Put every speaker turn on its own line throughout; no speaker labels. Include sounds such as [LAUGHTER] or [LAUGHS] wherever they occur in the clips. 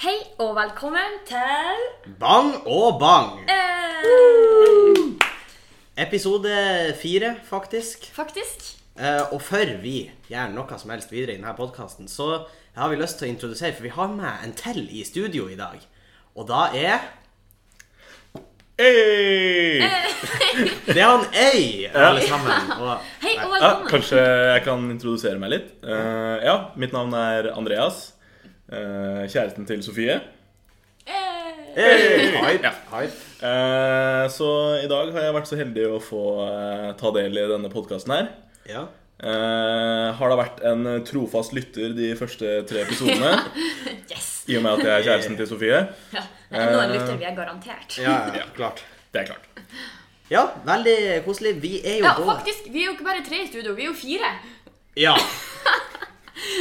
Hei og velkommen til
Bang og bang!
eh,
Episode fire, faktisk.
Faktisk.
Eh, og før vi gjør noe som helst videre i denne podkasten, så har vi lyst til å introdusere, for vi har med en til i studio i dag. Og da er
Hey!
Det er han Øy, alle sammen. Og
Hei og
Ja,
velkommen.
kanskje jeg kan introdusere meg litt. Eh, ja, mitt navn er Andreas. eh, kjæresten til Sofie.
Eh,
Øy! Hype,
Ja.
hype.
Eh, så i dag har jeg vært så heldig å få eh, ta del i denne podkasten her.
Ja.
Eh, har da vært en trofast lytter de første tre [LAUGHS] episodene,
yes.
i og med at jeg er kjæresten til Sofie.
Ja, det er noen lytter vi er garantert.
Ja, ja, klart.
Det er klart.
Ja, veldig koselig. Vi er jo
Ja,
da
faktisk. Vi er jo ikke bare tre i studio, vi er jo fire.
Ja.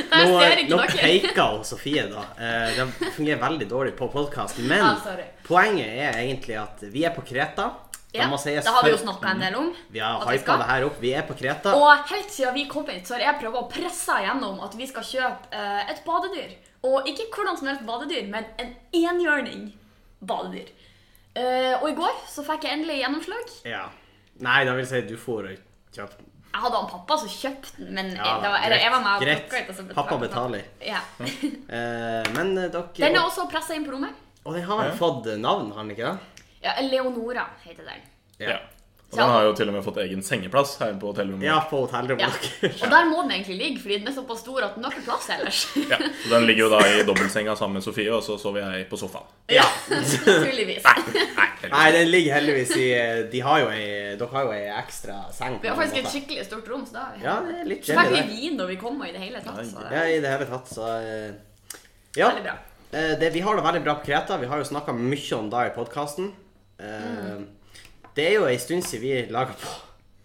Der
Nå, eh,
ser ikke
nå
dere.
peker hun Sofie, da. Eh, det fungerer veldig dårlig på podkast, men
Ja, Ah, sorry.
poenget er egentlig at vi er på Kreta. Det
Ja,
må sies
det har vi jo
før-
snakka en del om.
Mm. Vi har
at vi
hypa
skal.
det her opp. Vi er på Kreta.
Og helt siden vi kom hit, så har jeg prøvd å presse gjennom at vi skal kjøpe eh, et badedyr. Og ikke hvordan som helst badedyr, men en enhjørning badedyr. Eh, og i går så fikk jeg endelig gjennomslag.
Ja. Nei, da vil jeg si du får å kjøpe den.
Jeg hadde han pappa som kjøpte den, men
Ja,
det var, eller, jeg var med og
greit.
plukket ut, og så betalte
Pappa
han.
betaler.
Ja.
Eh, men eh, dere
[LAUGHS] Den er også pressa inn på rommet.
Og den har vel
Ja.
fått eh, navn, har den ikke det?
Ja, Leonora heter den.
Ja. Og den har jo til og med fått egen sengeplass her på hotellrommet.
Ja, på hotellrommet
Ja.
deres.
Og der må den egentlig ligge, fordi den er såpass stor at den har ikke plass
[LAUGHS]
ellers.
Ja, så Den ligger jo da i dobbeltsenga sammen med Sofie, og så sover jeg på sofaen.
Ja.
[LAUGHS] Naturligvis.
Nei, heldigvis.
[LAUGHS] Nei, den ligger heldigvis i eh, De har jo ei Dere har jo ei ekstra seng. på
Vi har
en
faktisk et
måte.
skikkelig stort rom, så da har vi-
Ja, det er litt
Så fikk
chillig,
vi
det.
vin når vi kom, og i det hele tatt. Så det
Ja, i det hele tatt, så eh, Ja.
veldig bra.
Eh, det, vi har det veldig bra på Kreta. Vi har jo snakka mye om det i podkasten.
Mm.
Det er jo ei stund siden vi laga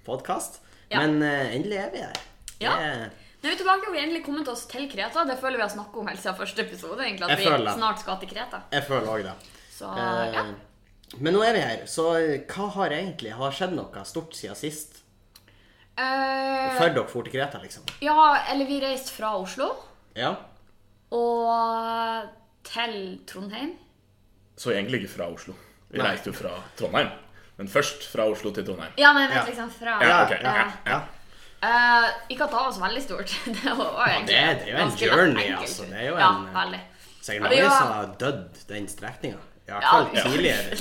podkast,
Ja.
men eh, endelig er vi her.
Ja.
Det er-
Nå er vi tilbake og vi har endelig kommet oss til Kreta. Det føler vi har snakket om helt siden første episode. egentlig, At
Jeg
vi
føler det.
snart skal til Kreta.
jeg føler òg det.
Så
Eh,
ja.
Men nå er vi her, så eh, hva har egentlig har skjedd noe stort siden sist?
Eh,
Før dere dro til Kreta, liksom?
ja, eller vi reiste fra Oslo.
Ja.
Og til Trondheim.
Så egentlig ikke fra Oslo. Vi
Nei.
reiste jo fra Trondheim. Men først fra Oslo til Trondheim.
Ja, men vent
Ja.
liksom fra
Ja, ok,
ja.
ok.
ja.
Eh, Ikke at det var så veldig stort. [LAUGHS] Det var egentlig
det er- det er jo en
ganske
journey,
enkelt.
altså. Det er jo
ja,
en-
veldig.
Sikkert
Ja,
mange
det var-
som har dødd den strekninga. I hvert
Ja,
fall
ja.
tidligere.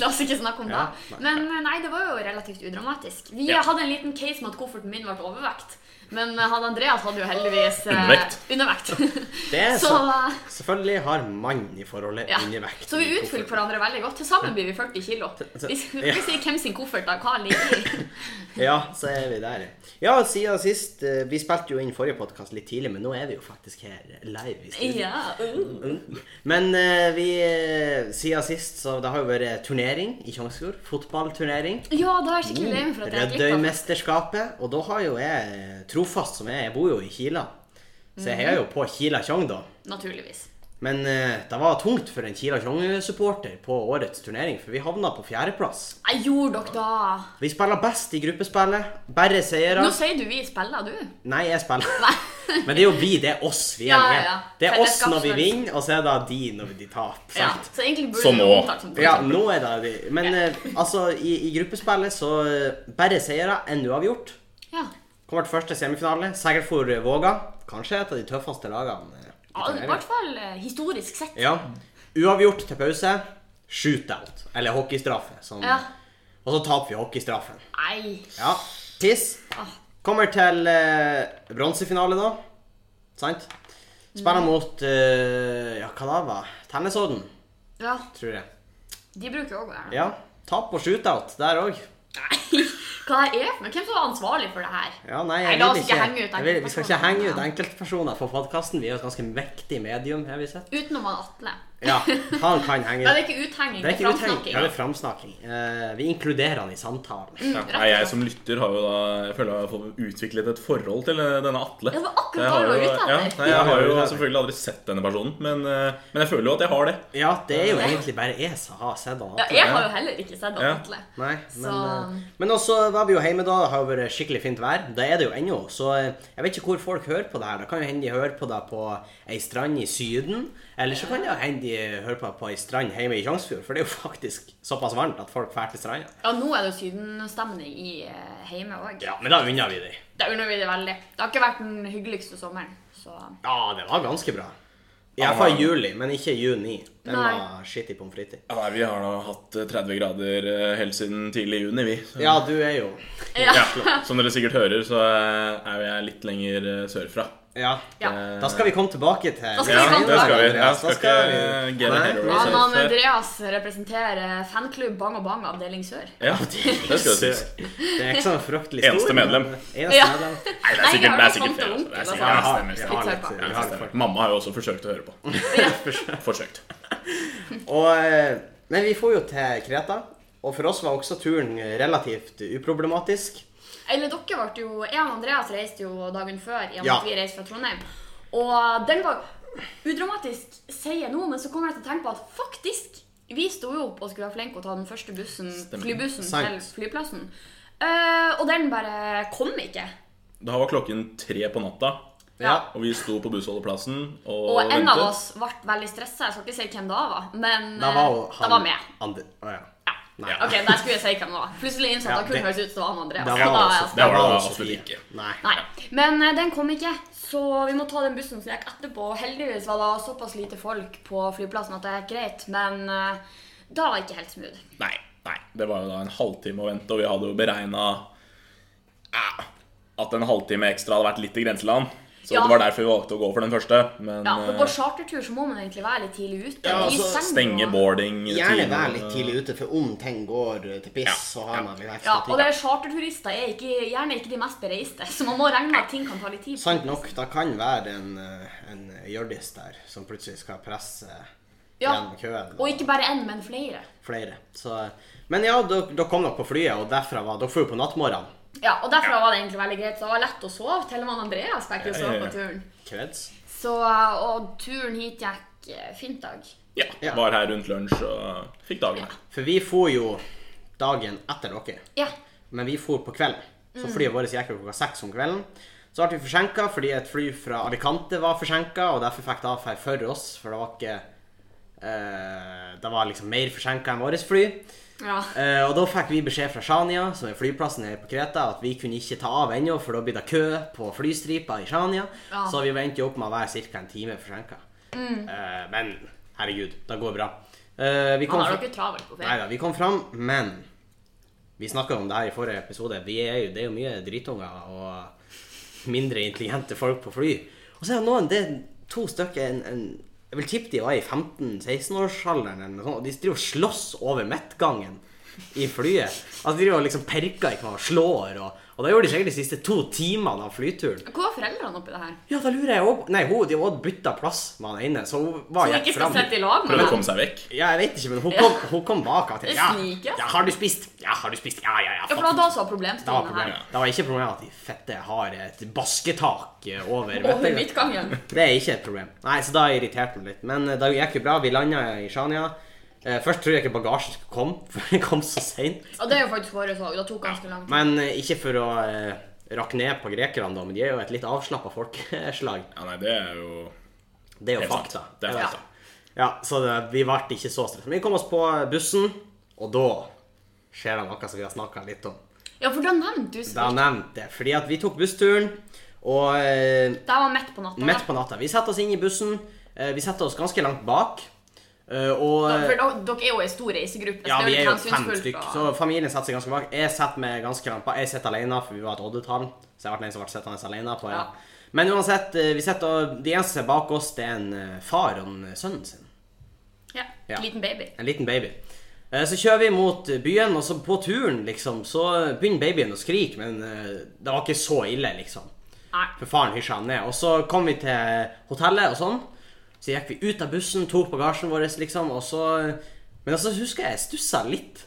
[LAUGHS] La oss ikke snakke om
Ja,
det. Men eh, nei, det var jo relativt udramatisk. Vi
Ja.
hadde en liten case med at kofferten min ble overvekt. Men eh, han Andreas hadde jo heldigvis eh,
Undervekt.
undervekt.
[LAUGHS] Det
[LAUGHS]
er
så,
så,
eh,
selvfølgelig har mannen i forholdet
ja.
undervekt.
så vi
i
utfylte
kofferten.
hverandre veldig godt. Til sammen blir vi 40 kilo.
så-
Hvis
ja.
vi sier hvem sin koffert da, hva ligger i?
[LAUGHS] Ja, så er vi der. Ja, siden sist eh, Vi spilte jo inn forrige podkast litt tidlig, men nå er vi jo faktisk her live. i studio.
Ja, uh.
Men eh, vi eh, Siden sist, så det har jo vært turnering i Tjongsfjord. Fotballturnering.
ja da er jeg skikkelig lei meg for at jeg ikke likte det.
Rødøymesterskapet. Og da har jo jeg, eh, trofast som jeg er, jeg bor jo i Kila, så jeg heier jo på Kila Tjong, da.
Naturligvis.
Men eh, det var tungt for en Kila Tjong-supporter på årets turnering, for vi havna på fjerdeplass.
Nei, gjorde dere da?
Vi spiller best i gruppespillet. Bare seire.
Nå sier du vi spiller, du.
Nei, jeg spiller.
Nei.
Men det er jo vi, det er oss. Vi er
Ja, ja,
med.
ja.
Det er oss
Fellesskap,
når vi
følelse.
vinner, og så er det de når de
[LAUGHS]
taper.
Ja,
sant?
så egentlig burde
Så
vi
nå.
omtalt som
Ja, nå er det de. Men eh, altså, i, i gruppespillet så eh, bare seire enn uavgjort.
Ja.
Kommer til første semifinale. Seier for eh, Våga. Kanskje et av de tøffeste lagene. eh, i
Ja, I
turneringen.
hvert fall eh, historisk sett.
Ja. Uavgjort til pause. Shootout. Eller hockeystraffe. Som,
Ja.
Og så taper vi hockeystraffen.
Nei. Ah,
Ja. Tiss. Kommer til eh, bronsefinale, da. Sant?
Mm.
Spiller mot eh, Ja, hva da var Tennisodden,
Ja,
tror jeg.
de bruker jo òg det.
Ja. Tap og shootout der òg.
Nei, hva det er for noe? Hvem som var ansvarlig for det her?
Ja, nei,
Nei,
jeg
la
vil
oss ikke
ikke
henge ut
jeg vil, Vi skal ikke
enkeltpersoner.
henge ut
Ja.
enkeltpersoner for podkasten. Vi er jo et ganske mektig medium, har
[LAUGHS]
vi sett.
Utenom han Atle.
Ja, han kan henge
Ja, det er
ut.
ikke uthenging,
Det er ikke
framsnakking.
uthenging. Ja, det er framsnakking. Eh, vi inkluderer han i samtalen.
Ja.
Mm.
Nei, jeg som lytter har jo da Jeg føler jeg har fått utviklet et forhold til eh, denne Atle.
Ja, det var akkurat
Jeg har
det du var
jo-
ute etter.
ja, nei, jeg har jo
Ja.
selvfølgelig aldri sett denne personen, men, eh, men jeg føler jo at jeg har det.
Ja, det er jo E egentlig bare jeg som har sett han.
Ja, jeg har jo heller ikke sett han
Ja.
Atle.
Nei, men,
Så-
eh, men også da er vi jo hjemme, da. Det har jo vært skikkelig fint vær. Det er det jo ennå. Så eh, jeg vet ikke hvor folk hører på det her. Det kan jo hende de hører på det på ei strand i Syden. Eller så kan det jo hende de hører på det på ei strand hjemme i Tjongsfjord. For det er jo faktisk såpass varmt at folk drar til stranda.
Ja, nå er det jo sydenstemning i eh, heime òg.
Ja, men da unner vi dem.
Det unner vi det veldig. Det har ikke vært den hyggeligste sommeren, så
Ja, det var ganske bra. Iallfall i juli, men ikke i juni. Den
Nei.
var skittig pommes frites. i.
Ja, nei, vi har da hatt eh, 30 grader eh, helt siden tidlig i juni, vi. Så-
Ja, du er jo
Ja.
Ja, Som dere sikkert hører, så eh, er jo jeg litt lenger eh, sørfra.
Ja.
ja.
Eh,
Da skal vi komme tilbake til
Da skal
ja,
vi komme
det skal vi.
tilbake.
Jeg skal
Da
ikke
skal
eh,
vi.
get
Nei.
ahead of
Ja,
Han
ourselves
og
her.
Andreas representerer fanklubb Bang og Bang avdeling sør.
Ja, det skal det sies.
Det er ikke sånn fryktelig stor.
Eneste medlem.
men- Eneste
Ja. [LAUGHS]
medlem.
Nei, det
Nei,
er
jeg
sikkert,
har
det er
jo
sikkert
tante
flere.
og
altså.
onkel, altså.
Det er sikkert- ja, stemmer,
jeg
stemmer.
har litt, jeg har litt folk.
Mamma har jo også forsøkt å høre på. Forsøkt.
Og, eh, men vi får jo til Kreta, og for oss var også turen relativt uproblematisk.
Eller dere ble jo Jeg og Andreas reiste jo dagen før, i og med
Ja.
at vi reiste fra Trondheim. Og den var udramatisk, sier jeg nå, men så kommer jeg til å tenke på at faktisk Vi sto jo opp og skulle være flinke og ta den første bussen,
Stemmer.
flybussen til
Sant.
flyplassen. Eh, og den bare kom ikke.
Da var klokken tre på natta,
Ja.
og vi sto på bussholdeplassen og,
Og en av
ventet.
oss ble veldig stressa. Jeg skal ikke si hvem det var, men eh,
Da var jo han
det var meg.
Andre, å, ja.
Ja.
Nei.
Ok, der skulle jeg si hvem det var. Plutselig innså jeg
Ja,
at det kunne
det-
høres ut som det var han Andreas.
Da
og da er
var altså-
jeg
Det var
da
det
Sofie.
absolutt ikke.
Nei.
Nei, men eh, den kom ikke, så vi må ta den bussen som gikk etterpå. Heldigvis var det såpass lite folk på flyplassen at det gikk greit, men eh, da var det ikke helt smooth.
Nei, nei. Det var jo da en halvtime å vente, og vi hadde jo beregna at en halvtime ekstra hadde vært litt i grenseland. Så
Ja.
det var derfor vi valgte å gå for den første. Men
Ja, for
eh,
på chartertur så må man egentlig være litt tidlig ute.
Ja,
i
altså,
seng
stenge
og-
boarding
Gjerne være litt tidlig ute, for om ting går til piss, så har
ja.
man litt
Ja,
ekstra
og det
tid.
er charterturister er ikke, gjerne ikke de mest bereiste, så man må regne med at ting kan ta litt tid.
Sant nok, det kan være en, eh, en Hjørdis der som plutselig skal presse
Ja,
gjennom køen.
og ikke bare en, men flere.
flere. Så, men ja, dere dere kom nok på flyet, og derfra var dere for på nattmorgenen.
Ja, og derfor var det egentlig veldig greit, så det var lett å sove, til og med Andreas fikk jo
Ja,
sove
ja, ja.
på turen.
Kreds.
Så, eh, og turen hit gikk eh, fint dag.
Ja,
Ja.
Var her rundt lunsj og fikk dagen.
For vi for jo dagen etter dere,
Ja,
men vi for på kvelden. Så flyet vårt gikk jo klokka seks om kvelden. Så ble vi forsinka fordi et fly fra Alicante var forsinka, og derfor fikk det avferd for oss, for det var ikke eh, Det var liksom mer forsinka enn vårt fly.
ja.
Eh, og da fikk vi beskjed fra Shania, som er flyplassen her på Kreta, at vi kunne ikke ta av ennå, for da blir det kø på flystripa i Shania.
Ja. Mm.
Så vi endte jo opp med å være ca. en time forsinka. men herregud, det går bra. Eh,
Han
vi, kom
har
fra...
dere travelt på ferie.
Neida, vi kom fram, men vi snakka om det her i forrige episode. Vi er jo, det er jo mye dritunger og mindre intelligente folk på fly. Og så er det noen, det er to stykker en, en, Jeg vil tippe de var i 15-16-årsalderen, eller noe sånt, og de driver og slåss over midtgangen i flyet. Altså, De driver og liksom perker i hverandre og slår, og, og det gjorde de sikkert de siste to timene av flyturen.
Hvor er foreldrene oppi det her?
Ja, da lurer jeg òg Nei, hun de hadde bytta plass med han ene, så hun var
Som
gikk
ikke skal
fram.
sitte i lag med
Prøvde å
dem?
komme seg vekk.
Ja, jeg vet ikke, men hun kom, hun kom bak og til.
Det
Ja,
snikes.
ja, har du spist? Ja, har du spist? Ja, ja, ja.
Ja, for det var da
faktisk.
som var
Det var
problemstillingen her.
problemet. Det var ikke problemet at de fette har et basketak eh, over
Over
vettet.
midtgangen.
Det er ikke et problem. Nei, så da irriterte hun litt. Men eh, det gikk jo bra. Vi landa i Shania. Eh, Først trodde jeg ikke bagasjen skulle komme, [LAUGHS] for den kom så seint.
Og det er jo faktisk våre òg. Det tok ganske lang tid.
Men eh, ikke for å eh, rakke ned på grekerne, da, men de er jo et litt avslappa folkeslag.
Ja, nei, det er jo
Det er jo
Helt sant.
fakta.
Det er
Ja.
fakta.
Ja, så det, vi ble ikke så stressa. Vi kom oss på bussen, og da skjer det noe som vi har snakka litt om.
Ja, for da nevnte du
Da
så
nevnte jeg, fordi at vi tok bussturen, og eh,
Det var midt på natta.
midt
da.
på natta Vi setter oss inn i bussen. Eh, vi setter oss ganske langt bak. Eh, og
Da- For da, dere er jo ei stor reisegruppe. så
ja,
det
vi
litt
er jo fem
hensynsfullt
stykk,
å-
så familien setter seg ganske bak. Jeg setter meg ganske langt bak. Jeg sitter alene, for vi var et oddetall, så jeg ble den som ble sittende alene på. Ja.
Ja.
Men uansett, eh, vi sitter, og de eneste som er bak oss, det er en eh, far og en, eh, sønnen sin.
Ja.
Ja.
Liten baby.
En liten baby. Eh, Så kjører vi mot byen, og så på turen liksom, så begynner babyen å skrike, men eh, det var ikke så ille, liksom.
Nei.
For faren hysja han ned. Og så kom vi til hotellet og sånn. Så gikk vi ut av bussen, tok bagasjen vår, liksom, og så Men så husker jeg jeg stussa litt.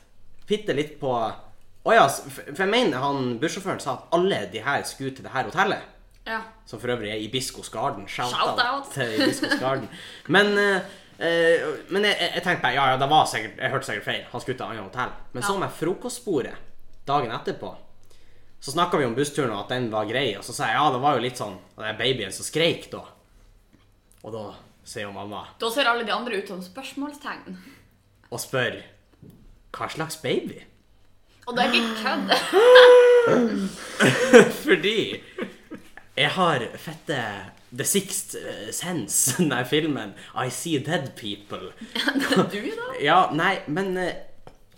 Bitte litt på Å ja, s- for for jeg mener han bussjåføren sa at alle de her skulle til det her hotellet.
Ja.
Som for øvrig er Ibiscos Garden. Shout,
Shout
out
out.
til Ibiscos Garden. Men, eh, eh, men jeg, jeg jeg tenkte bare, ja, ja, det var sikkert, jeg hørte sikkert feil. Han skulle til et annet hotell. Men så
Ja.
med frokostbordet dagen etterpå, Så snakka vi om bussturen og at den var grei, og så sa jeg ja, det var jo litt sånn Den der babyen som skreik da. Og da sier jo mamma
Da ser alle de andre ut som spørsmålstegn.
og spør hva slags baby? [LAUGHS]
Og det er
[GASPS]
ikke kødd.
Fordi jeg har fette The Sixth eh, Sense, [LAUGHS] den der filmen I See Dead People.
Du, da?
Ja, nei, men eh,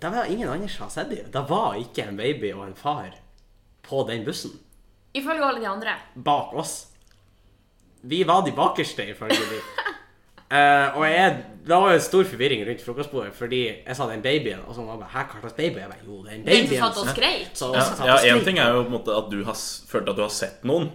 det var ingen andre som har sett det. Det var ikke en baby og en far på den bussen
Ifølge alle de andre.
bak oss. Vi var de bakerste, ifølge
[LAUGHS]
de. Eh, og jeg, det var jo stor forvirring rundt frokostbordet, fordi jeg sa den babyen, og så var han bare, hæ, hva slags baby? Jeg bare, jo,
Den
den babyen.
som satt og skreik.
Så-
Ja,
så-
ja, en ting er jo på en måte at du har s- følt at du har sett noen,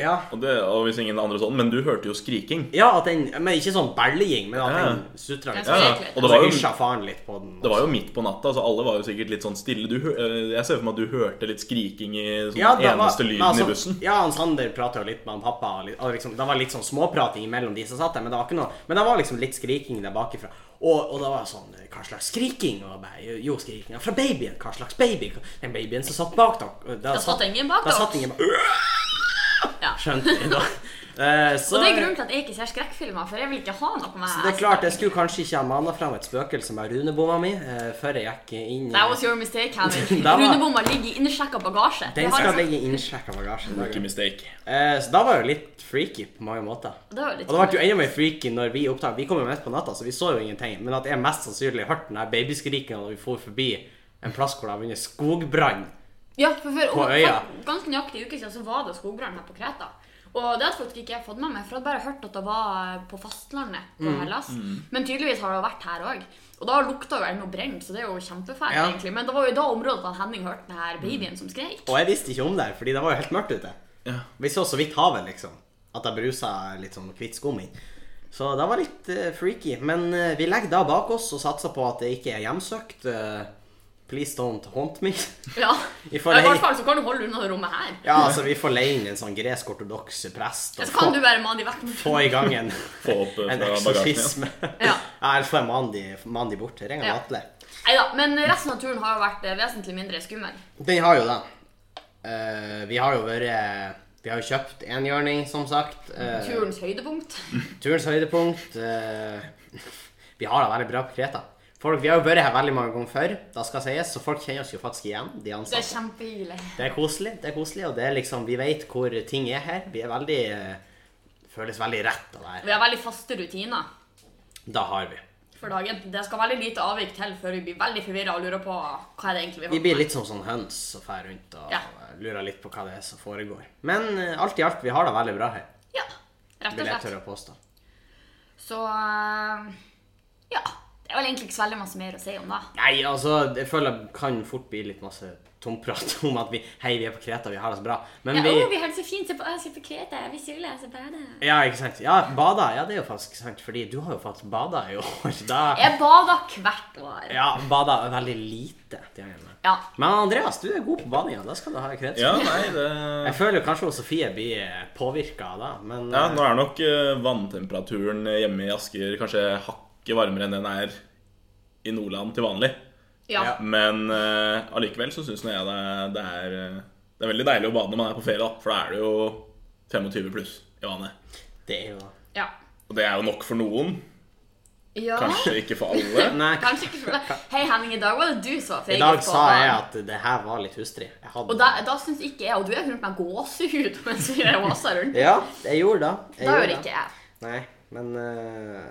Ja,
og, det, og hvis ingen andre så den, men du hørte jo skriking.
ja at den, men ikke sånn belling, men at
Ja.
den sutret litt.
Ja,
Ja,
ja.
og det var
Så
jo
hysja faren litt på den.
det var jo midt på natta, så alle var jo sikkert litt sånn stille. Du, hø- eh, jeg ser for meg at du hørte litt skriking i sånn
det var-
eneste lyden
men altså,
i bussen.
Ja, han Sander pratet jo litt med han pappa. Og litt, og liksom, det var litt sånn småprating mellom de som satt der, men det var ikke noe Men det var liksom litt skriking der bakifra. Og, og det var sånn Hva slags skriking? Og jeg bare, jo, jo, skrikinga fra babyen. Hva slags baby? Den babyen som satt bak dere. Der
satt ingen bak
der
dere.
satt ingen bak
Ja.
Skjønte jeg
[LAUGHS]
da. Eh, så,
Og det er grunnen til at jeg ikke ser skrekkfilmer, for jeg vil ikke ha noe med
så det er klart, jeg skulle kanskje ikke ha mana fram et spøkelse med runebomma mi eh, før jeg gikk inn i-
That was your mistake, Henrik.
[LAUGHS] Da var-
Runebomma ligger i innsjekka bagasje.
Den
Det har
skal
liksom-
ligge innsjekka bagasjen.
Ikke mistake.
Eh, så da var jeg jo litt freaky på mange måter.
Det var jo litt
Og det ble jo enda mer freaky når vi opptak. Vi kom jo midt på natta, så vi så jo ingenting. Men at jeg mest sannsynlig hørte den der babyskrikinga når vi for forbi en plass hvor det har vunnet skogbrann.
Ja, for for
På øya.
for ganske nøyaktig uke siden så var det skogbrann her på Kreta. Og det hadde faktisk ikke jeg fått med meg, for jeg hadde bare hørt at det var eh, på fastlandet på
Mm.
Hellas. Men tydeligvis har det vært her òg. Og da lukta jo jeg noe brent, så det er jo kjempefælt,
Ja.
egentlig. Men det var jo i da området at Henning hørte den her babyen som skreik.
Og jeg visste ikke om det, fordi det var jo helt mørkt ute.
Ja.
Vi så så vidt havet, liksom. At det brusa litt sånn hvitt skum inn. Så det var litt eh, freaky. Men eh, vi legger da bak oss og satser på at det ikke er hjemsøkt. Eh, please don't haunt me.
[LAUGHS]
[LAUGHS]
Ja.
Vi
I
får lei-
hvert fall så kan du holde unna det rommet her.
ja, altså, vi får leie inn en sånn gresk-ortodoks prest. og
Så kan
få-
du bare mane de vekk.
få i gang
[LAUGHS]
en,
Få opp, eh,
en
fra
eksorsisme. [LAUGHS]
Ja.
Ja, Eller få en mann de, mann de bort. Ring
Ja.
ja. Atle.
Nei da. Men resten av turen har jo vært eh, vesentlig mindre skummel.
Den har jo det. Eh, vi har jo vært Vi har jo kjøpt enhjørning, som sagt. Eh,
Turens høydepunkt.
turens høydepunkt. eh, [LAUGHS] vi har det veldig bra på Kreta. Folk, vi har jo vært her veldig mange ganger før, da skal sies, så folk kjenner oss jo faktisk igjen. de
Det
ansatte.
er kjempehyggelig.
Det er koselig, det er koselig, og det er liksom, vi vet hvor ting er her. Vi er veldig eh, Føles veldig rett av det her.
Vi har veldig faste rutiner.
Da har vi.
for dagen. Det skal veldig lite avvik til før vi blir veldig forvirra og lurer på hva er det egentlig vi
Vi
holder
blir litt som sånn høns som fer rundt og
Ja.
lurer litt på hva det er som foregår. Men eh, alt i alt, vi har det veldig bra her,
med. Ja, rett
vil
og
jeg
slett.
tørre å påstå.
Så eh, ja. Det er vel egentlig ikke så veldig masse mer å si om det.
Nei, altså, jeg føler det kan fort bli litt masse tomprat [LAUGHS] om at vi Hei, vi er på Kreta, vi har det så bra. Men
Ja,
vi
å, vi har det så fint. Se på, å, se på Kreta. Vi sykler, så bader.
Ja, ikke sant. Ja, bada. Ja, det er jo faktisk sant, fordi du har jo faktisk bada i år. Da
Jeg bader hvert år.
Ja, bada veldig lite. til gjengjeld.
Ja.
Men Andreas, du er god på badinga. Da skal du ha krets.
Ja, nei, det
Jeg føler jo kanskje hun Sofie blir påvirka av det, men
Ja, nå er nok eh, vanntemperaturen hjemme i Asker kanskje hakket varmere enn den er i Nordland til vanlig.
ja.
Ja.
Men eh, allikevel så syns nå jeg det, det, er, eh, det er veldig deilig å bade når man er på ferie, da. For da er det jo 25 pluss i vannet.
det er jo
Ja.
Og det er jo nok for noen.
ja.
Kanskje ikke for alle.
Nei,
Kanskje ikke for deg. Hei, Henning, i dag var det du som var
I
feig.
dag sa jeg at det her var litt hustrig. Jeg hadde...
Og da, da syns ikke jeg Og du er rundt med gåsehud [LAUGHS] mens vi vaser rundt.
Ja, jeg gjorde det. Jeg
Da gjør
gjorde
ikke jeg.
Nei, men eh,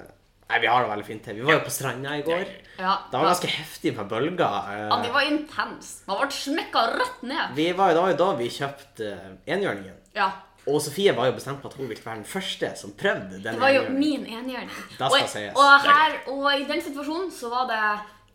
Nei, vi har det veldig fint her. Vi var jo på stranda i går.
Ja.
Det var ganske heftig med bølger. eh.
ja, de var intense. Man ble smekka rett ned.
Vi var jo da, da vi kjøpte eh, enhjørningen.
Ja.
Og Sofie var jo bestemt på at hun ville være den første som prøvde den.
Det var jo
enhjørningen.
min enhjørning.
Da skal
Og,
sies.
og, her, og i den situasjonen så var det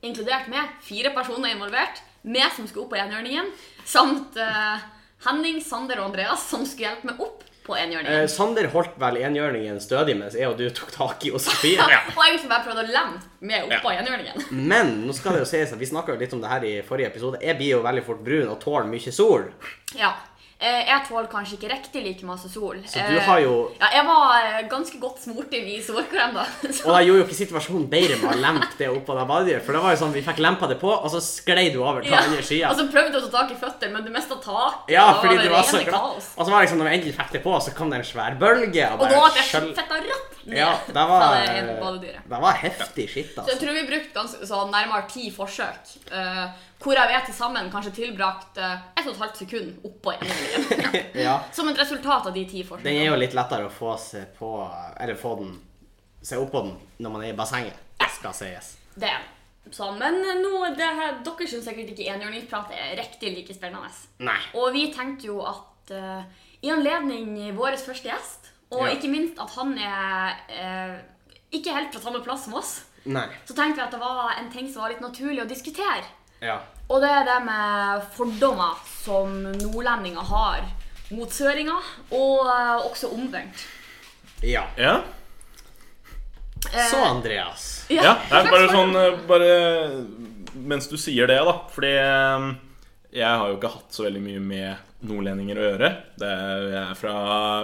inkludert med fire personer involvert. Meg som skulle opp på enhjørningen, samt eh, Henning, Sander og Andreas som skulle hjelpe meg opp på
Eh,
enhjørningen.
Sander holdt vel enhjørningen stødig mens jeg og du tok tak i og
[LAUGHS]
Sofie.
Og jeg liksom bare prøvde å lemme meg opp
Ja.
på enhjørningen.
Men nå skal det jo sies at vi snakka litt om det her i forrige episode. Jeg blir jo veldig fort brun og tåler mye sol.
Ja. Eh, Jeg tåler kanskje ikke riktig like masse sol.
Så du har jo-
Ja, jeg var eh, ganske godt smurt inn i solkrem, da. [LAUGHS] Så-
Og jeg gjorde jo ikke situasjonen bedre med å lempe det oppå det badedyret. For det var jo sånn, vi fikk lempa det på, og så sklei du over til
Ja.
andre sida.
Og så prøvde jeg å ta tak i føttene, men det mista taket.
Ja,
og
fordi
det
det var så
rene
glatt.
kaos.
Og så var det liksom, når vi endelig fikk det på, så kom det en svær bølge. Og
Og da
bare
ble jeg
skjøl-
fetta rett ned
Ja, det var,
fra det ene badedyret.
det var heftig skitt,
Så jeg
altså.
tror vi brukte ganske, sånn nærmere ti forsøk, eh, hvor jeg vet til sammen kanskje tilbrakte ett og et halvt sekund oppå en linje.
Ja.
Som et resultat av de ti
Den er
forsøkene.
jo litt lettere å få seg på Eller få den Se opp på den når man er i bassenget. Det skal sies.
Det er sånn, Men nå, det her, dere syns sikkert ikke enhjørningsprat er riktig like spennende.
Nei.
Og vi tenkte jo at eh, i anledning vår første gjest, og
Ja.
ikke minst at han er eh, ikke helt fra samme plass som oss,
Nei.
så tenkte vi at det var en ting som var litt naturlig å diskutere.
Ja.
Og det er det med fordommer som nordlendinger har mot søringer, og eh, også omvendt.
ja.
Ja.
Eh,
Så, Andreas.
ja. Det er bare
slags
sånn
forhold.
eh, Bare mens du sier det, da. Fordi eh, jeg har jo ikke hatt så veldig mye med nordlendinger å gjøre. Det er, jeg er fra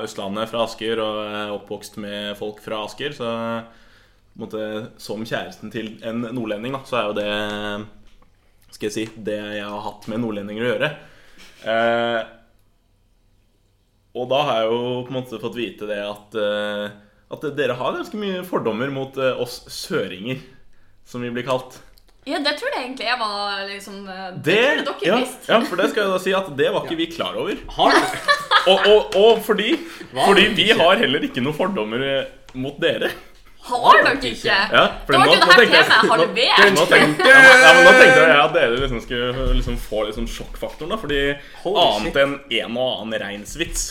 Østlandet, fra Asker, og er oppvokst med folk fra Asker. Så på en måte, som kjæresten til en nordlending, da, så er jo det eh, Skal jeg si det jeg har hatt med nordlendinger å gjøre. Eh, og da har jeg jo på en måte fått vite det at, eh, at dere har ganske mye fordommer mot eh, oss søringer, som vi blir kalt.
Ja, det tror jeg egentlig jeg var liksom eh, Det,
Det,
tror jeg dere
ja,
visste.
ja, for det skal jeg da si at det var ikke vi klar over.
Har du
Og, og, og fordi,
Hva?
fordi vi har heller ikke noen fordommer eh, mot dere.
Har dere ikke?
Ja, for
Da ble
nå-
det
nå
her
tenkte jeg-
temaet
nå-
halvert.
Nå tenkte, ja, men- ja, men nå tenkte jeg at dere liksom skulle liksom få liksom sjokkfaktoren, da. Fordi
Holy shit.
annet enn en og annen reinsvits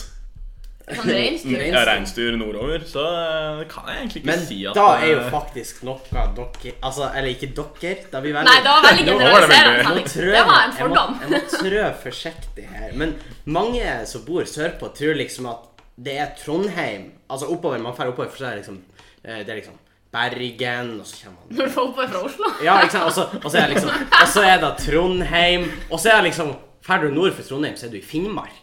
Sånn reinsdyr.
Rein-
ja, reinsdyr nordover, så eh, kan jeg egentlig ikke
Men
si at
da er jo
eh,
faktisk noe dere Altså, eller ikke dere. Da blir veldig
Nei, det var veldig
Nå-
var det veldig-
generaliserende.
[LAUGHS]
Nå
Henrik.
trør
Det var
jeg-
en fordom.
Jeg må, jeg må trø forsiktig her. Men mange som bor sørpå, tror liksom at det er Trondheim Altså oppover, man drar oppover, for så er det liksom eh, Det er liksom Bergen, og så kommer
[LAUGHS]
man
Når folk var fra Oslo.
Ja, ikke sant? Og så- Og så er det liksom Og så er det Trondheim, og så er det liksom Drar du nord for Trondheim, så er du i Finnmark.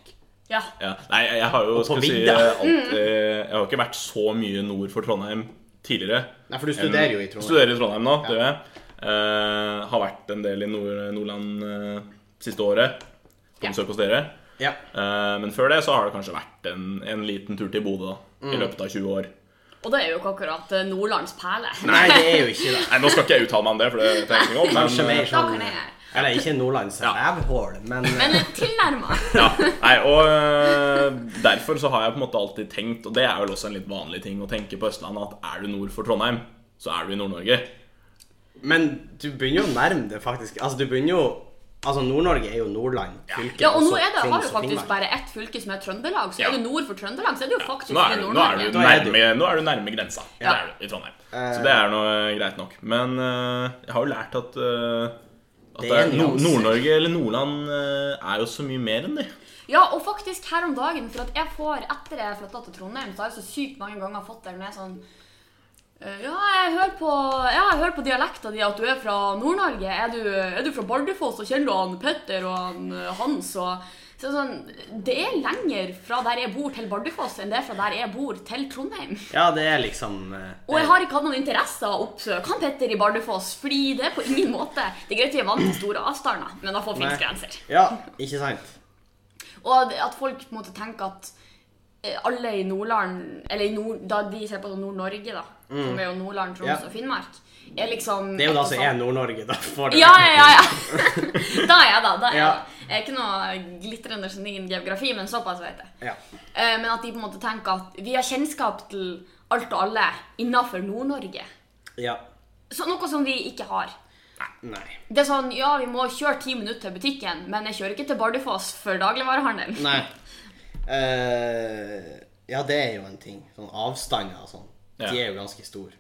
Ja.
Ja. Nei, jeg har jo
på
skal jeg si,
vidda.
alltid, Jeg har ikke vært så mye nord for Trondheim tidligere.
Nei, for du studerer jo i Trondheim.
Studerer i Trondheim nå, det gjør jeg. Eh, har vært en del i nord Nordland eh, siste året, på
Ja.
besøk hos dere.
Ja.
Eh, men før det så har det kanskje vært en, en liten tur til Bodø, da.
Mm.
I løpet av 20 år.
Og det er jo ikke akkurat eh, Nordlands perle.
Nei, det er jo ikke det.
Nei, nå skal ikke jeg uttale meg om det, for det vet jeg ingenting om. men,
Kanskje mer
eh,
Da
sånn
kan jeg-
Eller ikke Nordlands rævhål, men eh,
Men eh,
[LAUGHS]
tilnærma.
Ja, nei, og øh, derfor så har jeg på en måte alltid tenkt, og det er vel også en litt vanlig ting å tenke på Østlandet, at er du nord for Trondheim, så er du i Nord-Norge.
Men du begynner jo å nærme det, faktisk. Altså, du begynner jo Altså, Nord-Norge er jo Nordland fylke.
Ja, og nå
så
er det, har
Troms
vi
og
faktisk
Finnmark.
bare ett fylke som er Trøndelag, så
Ja.
er det nord for Trøndelag, så er det jo faktisk
Så nå er
i
du, nå er Eh. du,
Nordnorge.
Da er du-
nærme, nå er du nærme grensa.
Ja.
Det er du i Trondheim. Så det er noe greit nok. Men øh, jeg har jo lært at, øh, at
Det er
det er Nord-
nyanser.
Nord-Norge eller Nordland øh, er jo så mye mer enn det.
Ja, og faktisk her om dagen, for at jeg får etter jeg flytta til Trondheim, så har jeg så sykt mange ganger fått det når jeg er sånn eh, ja, jeg hører på, ja, jeg hører på dialekta di at du er fra Nord-Norge. Er, du- er du fra Bardufoss, og kjenner du han Petter og han eh, Hans og så er det sånn, Det er lenger fra der jeg bor til Bardufoss enn det er fra der jeg bor til Trondheim.
Ja, det er liksom eh,
Og jeg har ikke hatt noen interesse av å oppsøke han Petter i Bardufoss, fordi det er på ingen måte Det er greit vi er vant til store avstander, men da får
Nei.
finnes grenser.
Ja, ikke sant?
Og det- at folk på en måte tenker at eh, alle i Nordland Eller i nord, da de ser på sånn Nord-Norge, da, som er jo Nordland, Troms
Mm. Ja.
og Finnmark, er liksom
Det er jo da
ett og
som
samme.
er Nord-Norge, da. For det.
Ja, ja, ja.
[LAUGHS]
ja. da er jeg da, da er jeg
Ja.
da. Jeg er ikke noe glitrende geni innen geografi, men såpass vet jeg.
Ja.
Eh, Men at de på en måte tenker at vi har kjennskap til alt og alle innenfor Nord-Norge.
ja.
Så noe som vi ikke har.
Nei.
Det er sånn, ja, vi må kjøre ti minutter til butikken, men jeg kjører ikke til Bardufoss for dagligvarehandelen.
Nei. Eh, ja, det er jo en ting. Sånn avstander og sånn.
Ja.
De er jo ganske store.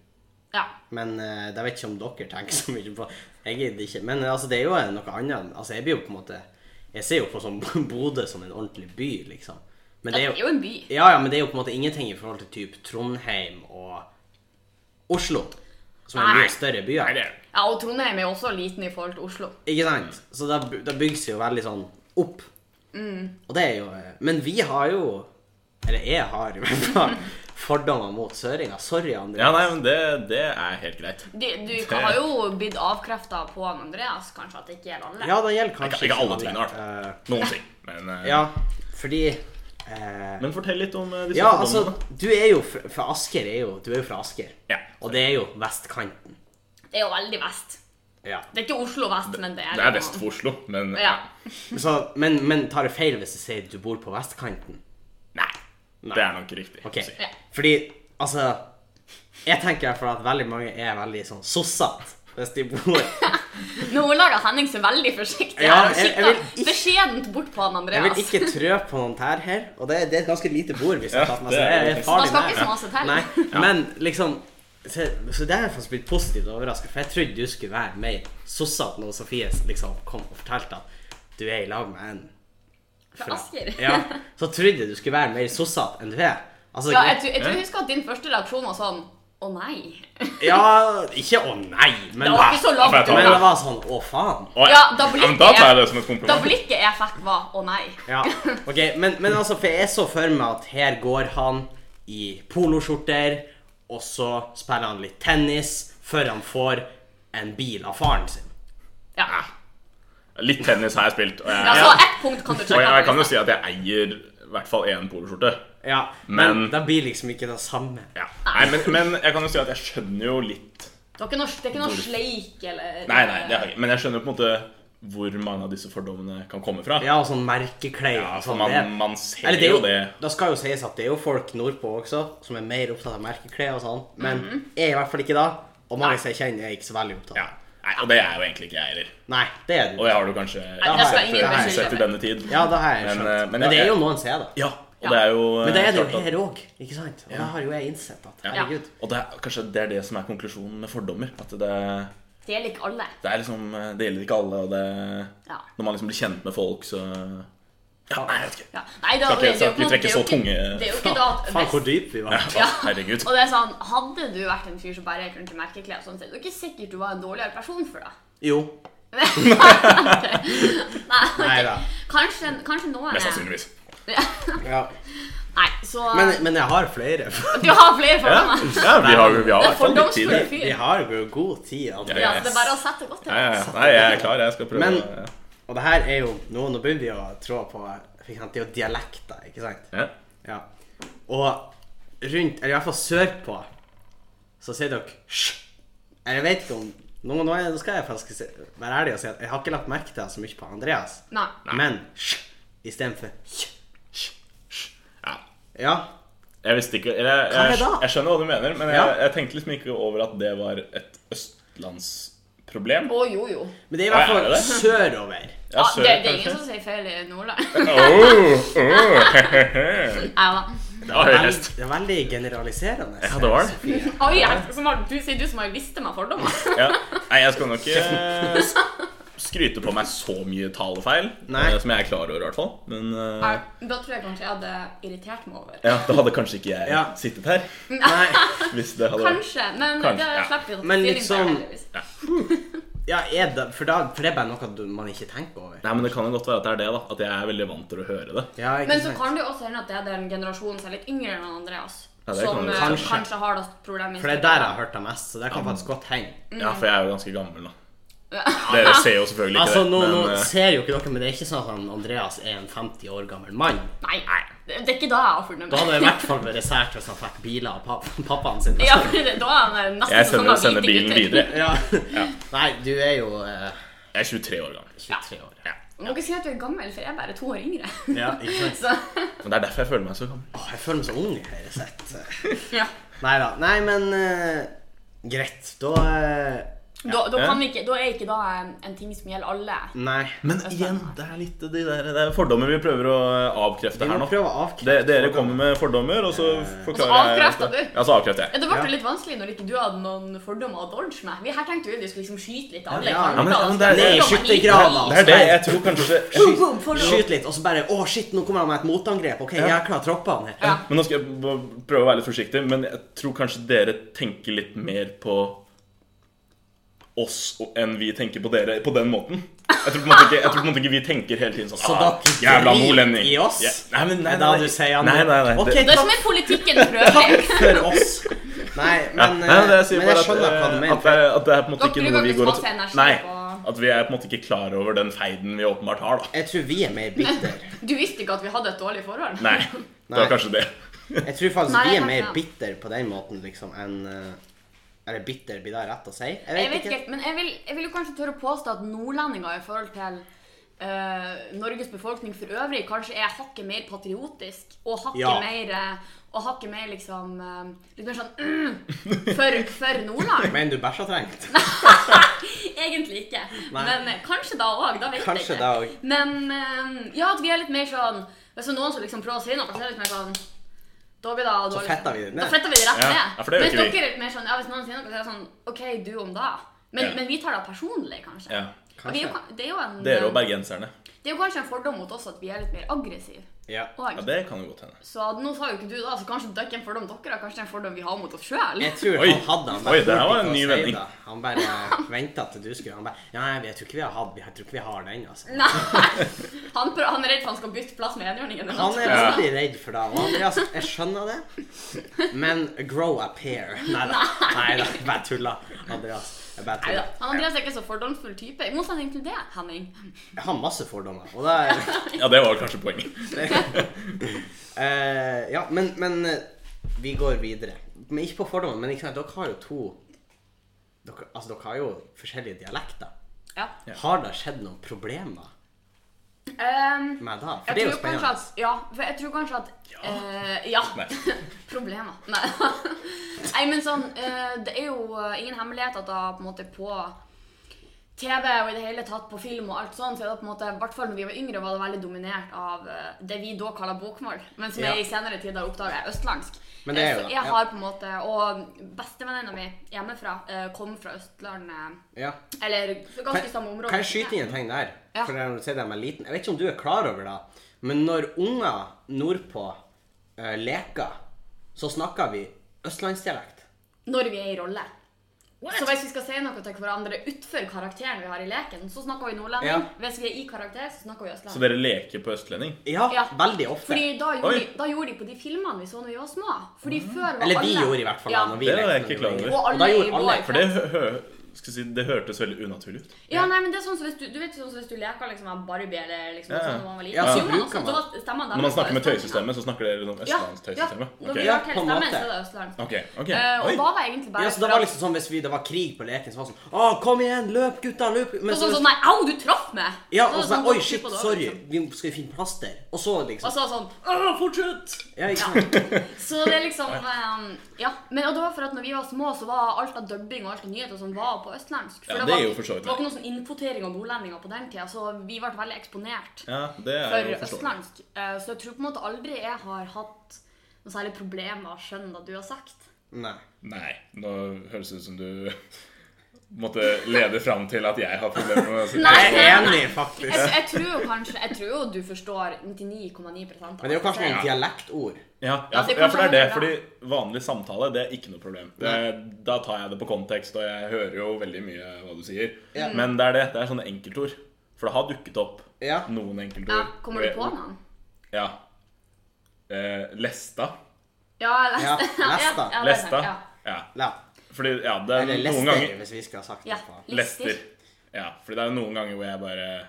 Ja.
Men eh, jeg vet ikke om dere tenker så mye på Jeg gidder ikke. Men eh, altså, det er jo eh, noe annet. Altså, jeg blir jo på en måte Jeg ser jo på sånn Bodø som [LAUGHS] en ordentlig by, liksom. Men
Det er jo en by.
Ja, ja, men det er jo på en måte ingenting i forhold til typ Trondheim og Oslo, som er
Nei.
mye større byer.
Nei, det er det.
Ja, og Trondheim er jo også liten i forhold til Oslo.
Ikke sant? Så da, bu- da bygges det jo veldig sånn opp.
Mm.
Og det er jo eh, Men vi har jo Eller jeg har i hvert fall
[LAUGHS]
fordommer mot søringer. Sorry, Andreas.
Ja, nei, men det, det er helt greit.
Du, du har jo blitt avkrefta på han Andreas, kanskje, at det ikke gjelder alle.
Ja, det gjelder kanskje
Ikke- ikke alle tingene, i hvert
alle. Eh,
Noen ting. Men, eh,
ja, fordi eh,
men fortell litt om eh, disse
Ja, altså,
fordommene.
du er jo fra, fra Asker. Er jo, du er jo fra Asker.
Ja.
Og det er jo vestkanten.
Det er jo veldig vest.
Ja.
Det er ikke Oslo vest, men det er liksom-
Det er vest for Oslo, men eh,
Ja.
Så, men, men tar det feil hvis jeg sier du bor på vestkanten?
Nei. Det er nok riktig.
Ok,
å si.
Ja.
Fordi, altså Jeg tenker i hvert fall at veldig mange er veldig sånn sossete hvis de bor
Nå lager Henning seg veldig forsiktig
Ja,
her og
jeg- jeg
kikker
vil ikke-
beskjedent bort på han
Jeg vil
Andreas.
ikke trø på noen tær her, og det, det er et ganske lite bord. hvis jeg
Ja,
har tatt meg,
det
så
er
det
det.
er farlig
Man skal ikke
nær.
smase til.
Nei, Men liksom Så, så det er jeg faktisk blitt positivt overraska, for jeg trodde du skulle være mer sossete når Sofie liksom kom og fortalte at du er i lag med en
Fra Asker.
Ja, så trodde jeg du skulle være mer sossete enn du er. Altså,
Ja, jeg, tror- jeg tror jeg husker at din første reaksjon var sånn Å nei.
ja, ikke å nei, men
Det var ikke så
Ja,
langt
for jeg
Men det
unna.
var sånn å faen.
Å,
Ja, da blir
ja, men da
det-
tar jeg det som et
Da
kompliment.
blikket jeg fikk, var å nei.
Ja, ok, men, men altså, for jeg så for meg at her går han i poloskjorter, og så spiller han litt tennis, før han får en bil av faren sin.
Ja.
Litt tennis har jeg spilt. Og jeg,
Altså, ett punkt kan du
og
sjekke.
jeg, kan jo
av.
si at jeg eier i hvert fall én poloskjorte.
Ja, men,
Men-
da blir liksom ikke det samme.
Ja. Nei, men, men jeg kan jo si at jeg skjønner jo litt
Det er ikke noe, det er ikke noe sleik eller
Nei, nei, det har jeg ikke. Men jeg skjønner på en måte hvor mange av disse fordommene kan komme fra.
Ja, og sånn merkeklær.
Ja,
og
for
sånn
man,
det.
man ser
Eller det er
jo
jo,
det.
Da skal jo sies at det er jo folk nordpå også som er mer opptatt av merkeklær og sånn, men jeg er i hvert fall ikke da, og mange som jeg kjenner er ikke så veldig opptatt.
Ja. Nei, og det er jo egentlig ikke jeg heller.
Nei, det er du.
Og det har du kanskje
Nei, det skal ingen
sett-
beskylde
sett i denne tid.
Ja, da har jeg
Men,
skjønt.
eh,
Men,
men ja,
det er
jeg-
jo noen som er det.
Ja, og det er jo eh,
Men det er det jo
klart at-
her òg, ikke sant? Og det har jo jeg innsett at,
Ja.
herregud.
Og det er, kanskje det er det som er konklusjonen med fordommer. At det,
Det gjelder ikke alle.
det er liksom eh, Det gjelder ikke alle, og det
Ja.
Når man liksom blir kjent med folk, så Ja, nei, jeg vet ikke.
Ja. Nei, da,
Skal ikke-
det, er jo
skal
på en
ikke
måte-
trekke så tunge-
Det er jo ikke da at
Faen, hvor dyp vi var.
Ja.
Herregud.
Og det er sånn, Hadde du vært en fyr som bare gikk rundt i merkeklær, og sånn, så er det jo ikke sikkert du var en dårligere person for det. [LAUGHS]
Jo. Nei da.
Kanskje, kanskje noen er
Mest sannsynligvis.
Ja.
Nei, så
Men, men jeg har flere.
Du har flere
Ja,
fordommer.
ja vi har jo i hvert fall litt tid.
Fordomsfull
Vi
fyr.
har jo god tid. altså. André.
Ja, så det er bare å sette godt til.
Ja, ja, ja. Nei, jeg er klar. Jeg skal prøve.
Men-
ja.
Og det her er jo Nå, nå begynner vi å trå på for eksempel, Det er jo dialekter, ikke sant?
Ja.
Ja. Og rundt, eller i hvert fall sørpå, så sier dere sj. Eller jeg vet ikke om Nå, nå, er, nå skal jeg faktisk si- være ærlig og si at jeg har ikke lagt merke til det så mye på Andreas,
Nei.
men sj istedenfor sj.
Ja.
Ja.
Jeg visste ikke eller, jeg,
Hva er
jeg,
det da?
jeg skjønner hva du mener, men jeg,
Ja.
jeg tenkte liksom ikke over at det var et østlandsproblem.
Å, jo, jo.
Men det er i hvert
Hva er
fall
det?
sørover.
Ja,
Ah,
sør,
det, det er
kanskje.
ingen som sier feil i Nordland. [LAUGHS]
[LAUGHS] Åh, åh.
Nei da.
Ja, høy
Vel-
hest.
Det er veldig generaliserende.
Ja, det var det.
Oi, jeg, som har, du sier du som har visst meg fordommer.
Ja. Nei, jeg skal nok
[LAUGHS]
ikke s- skryte på meg så mye talefeil
Nei.
eh, som jeg er klar over, i hvert fall. Men eh,
Nei, Da tror jeg kanskje jeg hadde irritert meg over.
ja, da hadde kanskje ikke jeg
Ja.
sittet her.
[LAUGHS] Nei,
Hvis det hadde vært
Kanskje, men
Kanskje,
det
ja.
slipper vi å ta stilling
Men
til,
liksom-
heldigvis.
ja, er det, for, da, for det er bare noe du, man ikke tenker over.
Nei, men det kan jo godt være at det er det, da. At jeg er veldig vant til å høre det.
Ja, ikke
Men så
sant?
kan det jo også hende at det er den generasjonen som er litt yngre enn Andreas.
Ja, det
som
kan
eh,
det jo
kanskje.
kanskje.
har det problemet. i
For det er
stedet.
der jeg har hørt det mest, så det kan faktisk godt hende.
Mm.
Ja, for jeg er jo ganske gammel, da. Dere ser jo selvfølgelig ikke
Altså,
det.
nå, nå
men, eh,
ser jo ikke dere, men det er ikke sånn at han Andreas er en 50 år gammel mann.
[LAUGHS] Nei, det det er ikke da jeg har fornøyd
Da hadde det i hvert fall vært sært hvis han fikk biler av pa- [LAUGHS] pappaen sin.
[LAUGHS] Ja, for det, da er han nesten
jeg
som
sender,
han
sender
hvite
bilen
gutter.
videre.
Ja. Nei, du er jo eh,
Jeg er 23 år gammel. liksom.
23 år.
Ja.
Du må ikke si at du er gammel, for jeg er bare to år yngre.
Ja,
[LAUGHS]
ikke sant?
Så,
Men det er derfor jeg føler meg så gammel.
Åh, jeg føler meg så ung i hele sett.
ja.
Nei da. Nei, men eh, greit. Da eh,
Da, da, kan vi ikke, da er ikke da en, en ting som gjelder alle.
Nei.
Men igjen, det er litt de der, det er fordommer vi prøver å eh, avkrefte
Vi
her
må
nå.
prøve å avkrefte
Det, dere kommer med fordommer, og så
Altså,
forklarer jeg
avkrefter du.
Ja, så avkrefter
Ja,
jeg.
Det ble
Ja.
litt vanskelig når ikke du hadde noen fordommer å dodge med. Vi her tenkte jo vi skulle liksom skyte litt alle.
Ja, ja.
kanter,
Ja,
men- ja, men det er-
altså.
Ned i
Fordommer i
skyttergraven.
alle.
Det er det jeg tror kanskje jeg,
Boom, boom, fordommer.
Skyt litt, og så bare Å, shit, nå kommer han med et motangrep. OK, jeg har klart troppene her.
Ja.
Men nå skal jeg b- prøve å være litt forsiktig, men jeg tror kanskje dere tenker litt mer på oss og- enn vi tenker på dere på den måten. Jeg tror på en måte ikke, jeg tror på en måte ikke vi tenker hele tiden sånn
Så dere
«Ah, Jævla
driter
nordlending.
i oss?
Ja. Nei, men nei,
da
nei.
du sier han
Nei, nei, nei.
Ok,
Det-
Det er som
takk
i politikken for øvrig.
for oss. Nei,
Ja.
men,
Nei, nei, det
eh,
jeg sier
men jeg
bare
skjønner hva
at,
du
eh,
mener.
at, det, er- at det er på en måte
Dere
ikke noe vi
bruker ikke
går
masse
og
energi
Nei.
på-
At vi er på en måte ikke klar over den feiden vi åpenbart har, da.
Jeg tror vi er mer bitter.
Du visste ikke at vi hadde et dårlig forhold?
Nei. Det
Nei.
var kanskje det.
Jeg tror faktisk
Nei, jeg
vi er
kan
mer
ikke.
bitter på den måten, liksom, enn eh, Eller bitter, blir det rett å si?
Jeg vet ikke, men jeg vil, jeg vil jo kanskje tørre å påstå at nordlendinger i forhold til eh, Norges befolkning for øvrig kanskje er hakket mer patriotisk og hakket
Ja.
mer eh, og hakket mer liksom eh, Litt mer sånn mm, for, for Nordland.
Mener du bæsja trengt?
Egentlig ikke.
Nei.
Men eh, kanskje da òg. Da vet
Kanskje
jeg ikke.
da òg.
Men eh, ja, at vi er litt mer sånn Hvis det er noen som liksom prøver å si noe, så er det litt mer sånn da blir det, da
Så
er
fetter vi det ned.
Da fetter vi det rett
Ja,
ned.
ja, for det gjør
Mens
ikke vi.
dere er litt mer sånn, ja, Hvis noen sier noe, så er det sånn OK, du om da. Men,
Ja.
men vi tar det personlig, kanskje.
Ja.
Og vi er jo ka- det, er jo en,
Dere og bergenserne.
det er jo kanskje en fordom mot oss at vi er litt mer aggressive.
Ja.
Ja,
Og,
det kan jo godt hende.
så nå sa jo ikke du da, så kanskje det er ikke en fordom dere har, kanskje det er en fordom vi har mot oss sjøl.
[LAUGHS] Jeg tror
Oi.
han hadde han
Oi, det
turte
var
ikke
en
å
ny
si
vending.
det. Han bare venta til du skulle Han bare Ja, jeg vet- jeg tror ikke vi har hatt Jeg tror ikke vi har den, altså.
Nei! Han, prø- han er redd for han skal bytte plass med enhjørningen. eller
Han
noe.
er
Ja.
veldig redd for det. Og Andreas, jeg skjønner det, men grow a pair. Nei da. Nei da. Bare tulla. Andreas. Jeg bare
Neida.
tulla.
Han Andreas er ikke så fordomsfull type. I motsetning til det, Henning.
Jeg har masse fordommer, og det er
Ja, det var kanskje poenget.
Eh, ja, men, men eh, vi går videre. Men ikke på fordommen, men ikke sant, dere har jo to dere, Altså, dere har jo forskjellige dialekter.
Ja.
Har det skjedd noen problemer
Ehm,
med det? For
jeg
det er jo
tror kanskje
spennende.
at Ja. For jeg tror kanskje at
Ja.
eh, ja.
Nei.
[LAUGHS] Problemer. Nei. [LAUGHS] Nei, men sånn eh, Det er jo eh, ingen hemmelighet at da på en måte på TV og i det hele tatt på film og alt sånt, så er det på en måte, i hvert fall når vi var yngre, var det veldig dominert av eh, det vi da kaller bokmål, men som
Ja.
jeg i senere tid har oppdaga er østlandsk.
Men det er
Eh,
jo
så
det,
jeg
ja.
har på en måte, Og bestevenninna mi hjemmefra eh, kom fra Østlandet,
Ja.
eller ganske
Kan,
samme område.
kan jeg skyte inn en ting der?
Ja.
For når du sier de er liten. Jeg vet ikke om du er klar over det, men når unger nordpå eh, leker, så snakker vi østlandsdialekt.
når vi er i rolle. Så hvis vi skal si noe til hverandre utenfor karakteren vi har i leken, så snakker vi nordlending.
Ja.
Hvis vi er i karakter, så snakker vi
Så
østlending.
dere leker på østlending?
Ja,
Ja.
veldig ofte.
Fordi da gjorde,
Oi.
de, da gjorde de på de filmene vi så når vi var små. Fordi før var
Mm. Eller vi
alle...
gjorde i hvert fall
ja.
det. når vi
Det var
lekte når
jeg ikke
vi
klar
var
over.
yngre.
Og alle
Og da
i
gjorde
vår
alle.
klasse.
For det, hø hø skal jeg si, det hørtes veldig unaturlig ut.
Ja, nei, men det er sånn som hvis du, du vet sånn som hvis du leker liksom med Barbie eller liksom
Ja, ja.
sånn når man var liten.
Ja,
så
så
gjorde man
bruker
sånn,
man-
så var stemmen
Når man
deres var
snakker med
østlending.
tøystemme, så snakker dere sånn
Ja, ja.
østlandstøystemme?
Når vi
Ja,
har
på en
stemmen,
måte.
så er det østlandsk.
Ok, ok.
Eh, og
Oi.
da var egentlig bare
Ja, så det var liksom sånn Hvis vi, det var krig på leken, så var det sånn Å, kom igjen, løp, gutta, løp! Men
sånn,
så,
sånn, nei, au, du traff meg!
ja,
Så det
og så
var
sånn,
sånn,
Oi, shit,
på det,
sorry,
liksom.
vi skal jo finne plaster. Og så
Og
liksom
så sånn, «Åh, fortsett!
Ja, ikke sant?
Så det er liksom ehm, Ja. Men og det var for at når vi var små, så var alt av dubbing og alt av nyheter som var på østlandsk. For det,
Ja, det
var,
er jo
ikke-
for så vidt
det var ikke noe sånn innkvotering av nordlendinger på den tida, så vi ble veldig eksponert
Ja, det er
for
jo forståelig.
østlandsk. Eh, Så jeg tror på en måte aldri jeg har hatt noe særlig problem med å skjønne det du har sagt.
Nei.
Nei, nå høres det ut som du [LAUGHS] måtte lede fram til at jeg har problemer med å si
Nei.
Jeg er enig,
Jeg,
faktisk.
jeg tror jo kanskje Jeg tror jo du forstår 99,9 av
Men det er jo
hva jeg
kanskje
sier.
noen dialektord.
Ja,
Ja,
ja,
det
for- ja, for det er det.
kan
Fordi vanlig samtale, det er ikke noe problem. Det, da tar jeg det på kontekst, og jeg hører jo veldig mye hva du sier.
Ja.
Men det er det. Det er sånne enkeltord. For det har dukket opp
Ja.
noen enkeltord.
ja, Kommer du på noen?
Ja. Eh, lesta.
[LAUGHS] Ja,
Ja,
Lesta.
Lesta.
Ja, ja, det er sant,
Lesta.
Ja.
Ja.
Ja.
Fordi, ja, det er
Eller
noen
lester,
ganger
hvis vi skal ha sagt
Ja.
det. på-
Lister.
Lester. Ja, fordi det er jo noen ganger hvor jeg bare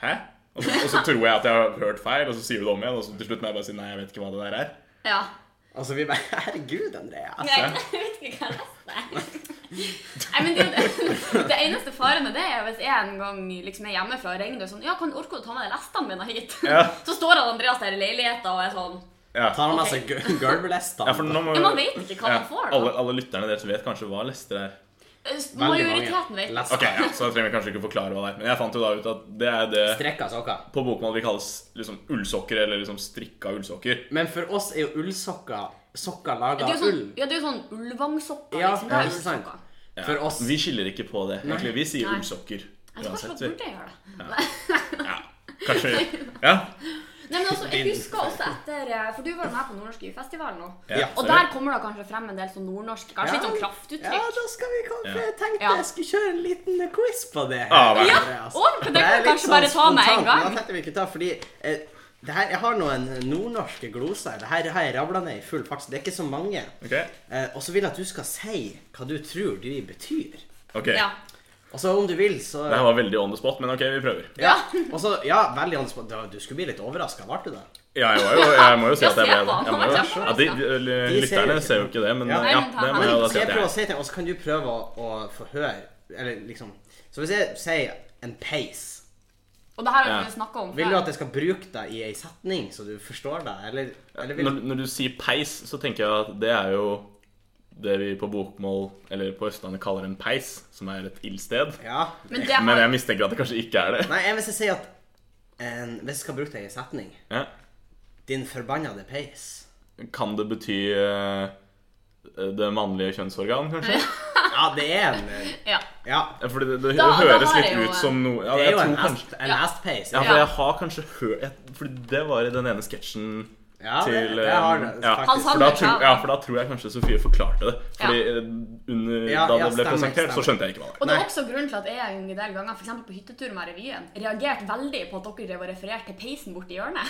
Hæ? Og så, og så tror jeg at jeg har hørt feil, og så sier du det om igjen, og så til slutt må jeg bare si nei, jeg vet ikke hva det der er.
Ja.
Altså, vi bare Herregud, Andreas.
Nei, jeg vet ikke hva jeg leste. Nei, men det, er jo det, [LAUGHS] det eneste faren med det er hvis jeg en gang liksom er hjemmefra og ringer deg sånn Ja, kan du orke å ta med deg lestene mine hit?
Ja.
[LAUGHS] Så står han Andreas der i leiligheten og er sånn
Ja.
Tar han med seg altså gu- gulvlester?
Ja, for nå må
Ja, man vet ikke hva man får, da.
alle, alle lytterne deres vet kanskje hva lester er.
«Eh,
Veldig mange.
Majoriteten vet det.
Lester.
Ok, ja, Så da trenger vi kanskje ikke forklare hva det er. Men jeg fant jo da ut at det er det
Strekka sokker.
på bokmål vi kalles liksom ullsokker, eller liksom strikka ullsokker.
Men for oss er jo ullsokker sokker laga
Det er
av
jo sånn,
ull.
ja, det er jo sånn ulvangsokker.
Ja,
liksom. Det
ja,
er
ikke sant.
ulvsokker.
Ja.
For oss
Vi skiller ikke på det. egentlig. Vi sier
Nei.
ullsokker
Jeg tror kanskje
uansett.
man [LAUGHS]
Vi.
burde gjøre det.
Ja. Kanskje Ja.
[LAUGHS] Nei, men også, jeg
Din.
husker også etter eh, For du var jo med på Nordnorskfestivalen nå.
Ja.
Og der kommer det kanskje frem en del sånn nordnorsk, kanskje litt sånn kraftuttrykk.
da skal vi kanskje
Ja.
Jeg tenkte
Ja.
jeg skulle kjøre en liten quiz på det.
Ja, vel.
Ja,
Andreas.
og det kan vi
er litt sånn
kanskje bare ta med en
spontant, men
gang.
Da tenkte vi ikke ta, fordi eh, det her, Jeg har noen nordnorske gloser. Det her har jeg rabla ned i full fart. så Det er ikke så mange.
Ok,
Eh, og så vil jeg at du skal si hva du tror de betyr.
ok
Ja.
Og så Altså, om du vil, så
Det her var veldig on the spot, men ok, vi prøver.
Ja, og så, ja veldig anspå. da- Du skulle bli litt overraska, ble du det?
Ja, jeg, var jo, jeg må jo si
Ja,
at jeg ble
se på han, han
jeg må
var
jo-
kjempeoverrasket.
ja, de, de,
De ser jo
Lytterne
ikke
ser jo ikke det, men
Ja.
ja,
Nei, men ta
det
han.
må jeg jo da
Skal
si
jeg
at
prøve
jeg
å si ting, og så altså, kan du prøve å, å få høre Eller liksom Så hvis jeg sier en peis,
Og det her har
Ja.
vi jo snakket om
vil du at
før.
jeg skal bruke deg i ei setning, så du forstår det? Eller, eller vil
når, når du sier peis, så tenker jeg at det er jo det vi på bokmål, eller på Østlandet, kaller en peis, som er et ildsted.
Ja.
Men det
Men
har
jeg mistenker at det kanskje ikke er det.
Nei, jeg- hvis jeg sier at en, Hvis jeg skal bruke deg i ei setning
Ja.
Din forbannede peis.
Kan det bety eh, det mannlige kjønnsorgan, kanskje?
Ja, det er en
Ja.
Ja.
Ja, Fordi det, det,
Da- da
høres
har
litt
jeg jo-
ut som noe ja,
Det er
jeg
jo en
tror kanskje,
hest- en
Ja.
hestpeis. Ja,
ja, for
Ja.
jeg har kanskje hørt jeg- Fordi det var i den ene sketsjen
ja det,
til
det har
eh,
det
ja.
faktisk.
Han sa
For da,
det
tror,
selv.
ja, for da tror jeg kanskje Sofie forklarte det. Fordi eh, under,
Ja,
da
ja,
det ble
stemmer,
presentert, så
stemmer.
skjønte jeg ikke hva det var.
Og det er
Nei.
også grunnen til at jeg en del ganger, f.eks. på hyttetur med revyen, reagerte veldig på at dere drev og refererte til peisen borti hjørnet.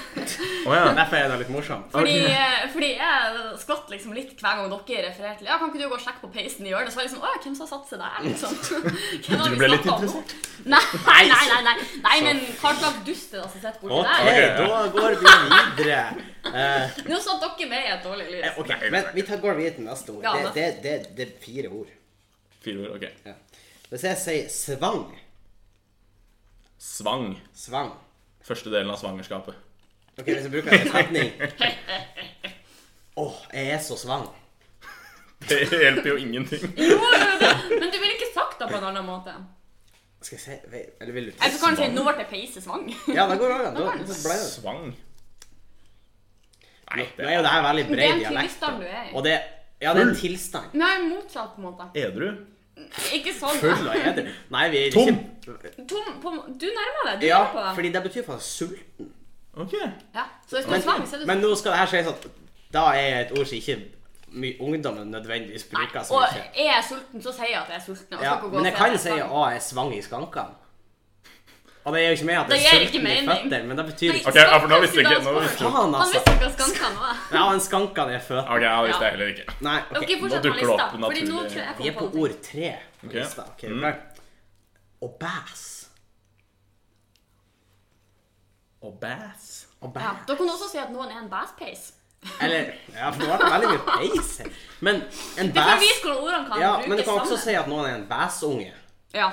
Å, ja.
Derfor er det litt morsomt.
Fordi, eh, fordi jeg skvatt liksom litt hver gang dere refererte til Ja, kan ikke du gå og sjekke på peisen i hjørnet? Så var jeg liksom Å ja, hvem som har satt seg der?
[LAUGHS]
Liksom. Hvem har
Du
vi
ble litt
snakket om nå?
interessert.
Nei, nei, nei. nei, nei men hva slags dust er det som sitter borti
Ok,
der?
da går vi videre. [LAUGHS] Eh,
Nå satt dere med i et dårlig lys.
Ok, men vi tar går videre til neste ord.
Ja,
det,
neste.
det, det, det er fire ord.
Fire ord, ok.
Ja. Hvis jeg sier svang,
Svang.
svang
Første delen av svangerskapet. [LAUGHS]
Ok, hvis jeg bruker
[LAUGHS]
en setning Åh, jeg er så svang.
Det hjelper jo ingenting.
Jo, jo, jo, men du ville ikke sagt det på en annen måte.
Skal jeg si ve- Eller vil du
Eller så kan du si 'nå ble peise svang'.
Ja, det går an. Da da ble det
Svang. Nei,
Nå er jo det her veldig
Det er
bred
en
dialekt.
tilstand du er i.
Og det Ja, det er en tilstand.
Nei, motsatt på en måte.
Edru?
Ikke sånn.
Full av eder. Nei, vi er
Tom.
ikke
Tom, på, du nærmer deg. Du
Ja,
nærmer på det.
fordi det betyr faktisk sulten.
Ok.
Ja, så hvis du
Men,
er svang, så er du
men nå skal det her sies at da er et ord som ikke my- ungdommen nødvendigvis bruker så
Og
mye.
er jeg sulten, så sier jeg at jeg er sulten. Og
Ja,
så kan gå
men
og
jeg
se
kan
at
si
jeg er
at
svang.
jeg er svang i skankene. Og det er jo ikke med at
Det
jeg
gir
er
ikke
sulten i
mening.
føtter, men det betyr ikke
Ok, ja, for nå visste jeg ikke- nå
Han
visste
visste
jeg-
Faen, altså.
ikke hva skankene var.
Ja, en skankene er føtter.
Ok, ja, Hvis det er heller ikke.
Nei,
Ok,
ok.
fortsett med
dukker det
lista.
opp
Fordi nå
naturlig-
tror jeg jeg
Vi er
kom
på
på
ord tre på
Ok.
lista. Ok,
Mm.
klar. Å bæs.
Og bass.
Å
Ja,
bæs.
da kan du også si at noen er en basspeis.
Eller Ja, for nå ble det veldig mye peis her. Men en
Det kan
bæs
vise hvordan ordene kan
Ja,
brukes
men du kan også
sammen.
si at noen er en bæsunge.
Ja.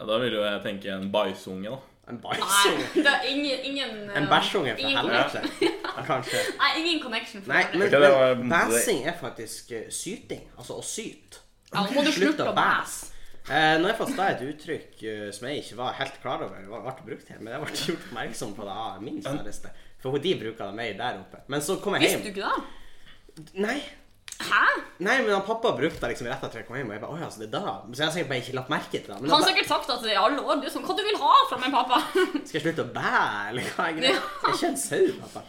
Ja, da vil jo jeg tenke en bæsjunge, da.
En
Nei,
bæsunge.
det er ingen, ingen
En
eh,
bæsjunge, for
ingen-
helvete. Kanskje.
Nei, ingen connection. for
Nei,
det.
men,
Ok, det var-
men bæsing er faktisk eh, syting. Altså å syte.
Ja, nå må du
Slutt
slutte
å
å bæse.
Eh, nå har jeg fått da et uttrykk eh, som jeg ikke var helt klar over hva ble brukt her, men jeg ble [LAUGHS] gjort oppmerksom på det av min kjæreste. For hun- de bruker det mer der oppe. Men så kom jeg
Visste du
hjem.
ikke det?
Nei,
Hæ?
nei, men han pappa brukte det liksom rett etter jeg kom hjem. Og jeg bare, Oi, altså, det er da. Så jeg har sikkert bare ikke lagt merke til det.
Han
Men
har
da,
sikkert sagt at det er alle år. Du er sånn Hva du vil ha fra meg, pappa?
skal jeg slutte å bæ, eller hva er greia? Jeg er ikke en sau, pappa.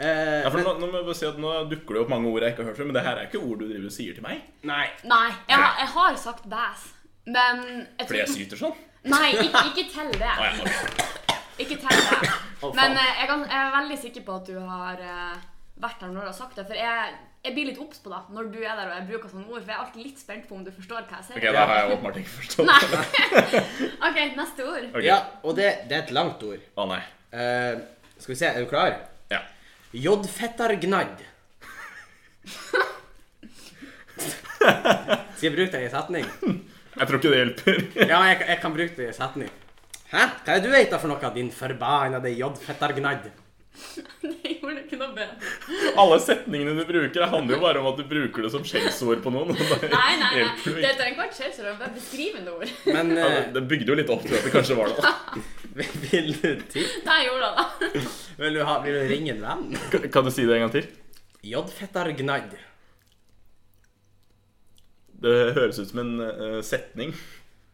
Eh,
Ja, for
men,
nå, nå må jeg bare si at nå dukker det opp mange ord jeg ikke har hørt før, men det her er ikke ord du driver og sier til meg.
nei.
[LAUGHS] Nei, jeg, har- jeg har sagt bæs. Men jeg
Fordi jeg
tror-
syter sånn.
Nei, ikke, ikke tell det.
Ah, ja, ok.
Ikke tell
[LAUGHS]
det.
Å, faen.
Men eh, jeg, kan, jeg er veldig sikker på at du har eh, vært der når du har sagt det. For jeg, jeg blir litt obs på det når du er der og jeg bruker sånne ord. For jeg er alltid litt spent på om du forstår hva jeg sier.
ok, da har jeg åpenbart ikke forstått.
[LAUGHS] Nei. [LAUGHS] OK, neste ord.
Ok.
Ja, og det, det er et langt ord.
Å nei.
Eh, skal vi se, er du klar?
Ja. [LAUGHS]
Jodfettargnadd. Skal jeg bruke det i en setning?
Jeg tror ikke det hjelper. [LAUGHS]
Ja, jeg, jeg kan bruke det i en setning. Hæ? Hva er det du heter for noe, din forbannede jodfettargnadd?
[LAUGHS] Det gjorde ikke noe
[LAUGHS]
bedre.
Alle setningene du bruker, handler jo bare om at du bruker det som skjellsord på noen. [LAUGHS] og da
Nei, nei, nei.
hjelper jo
Det
ikke.
trenger ikke være et skjellsord. det er Bare beskrivende ord. [LAUGHS]
[LAUGHS]
Men
Ja,
eh,
det- det bygde jo litt opp til at det kanskje var det.
vil, du ti-
Der gjorde jeg det.
vil, du ha, vil du ringe en venn?
[LAUGHS] Kan- Kan du si det en gang til?
Jodfettargnadd.
Det høres ut som en eh, setning.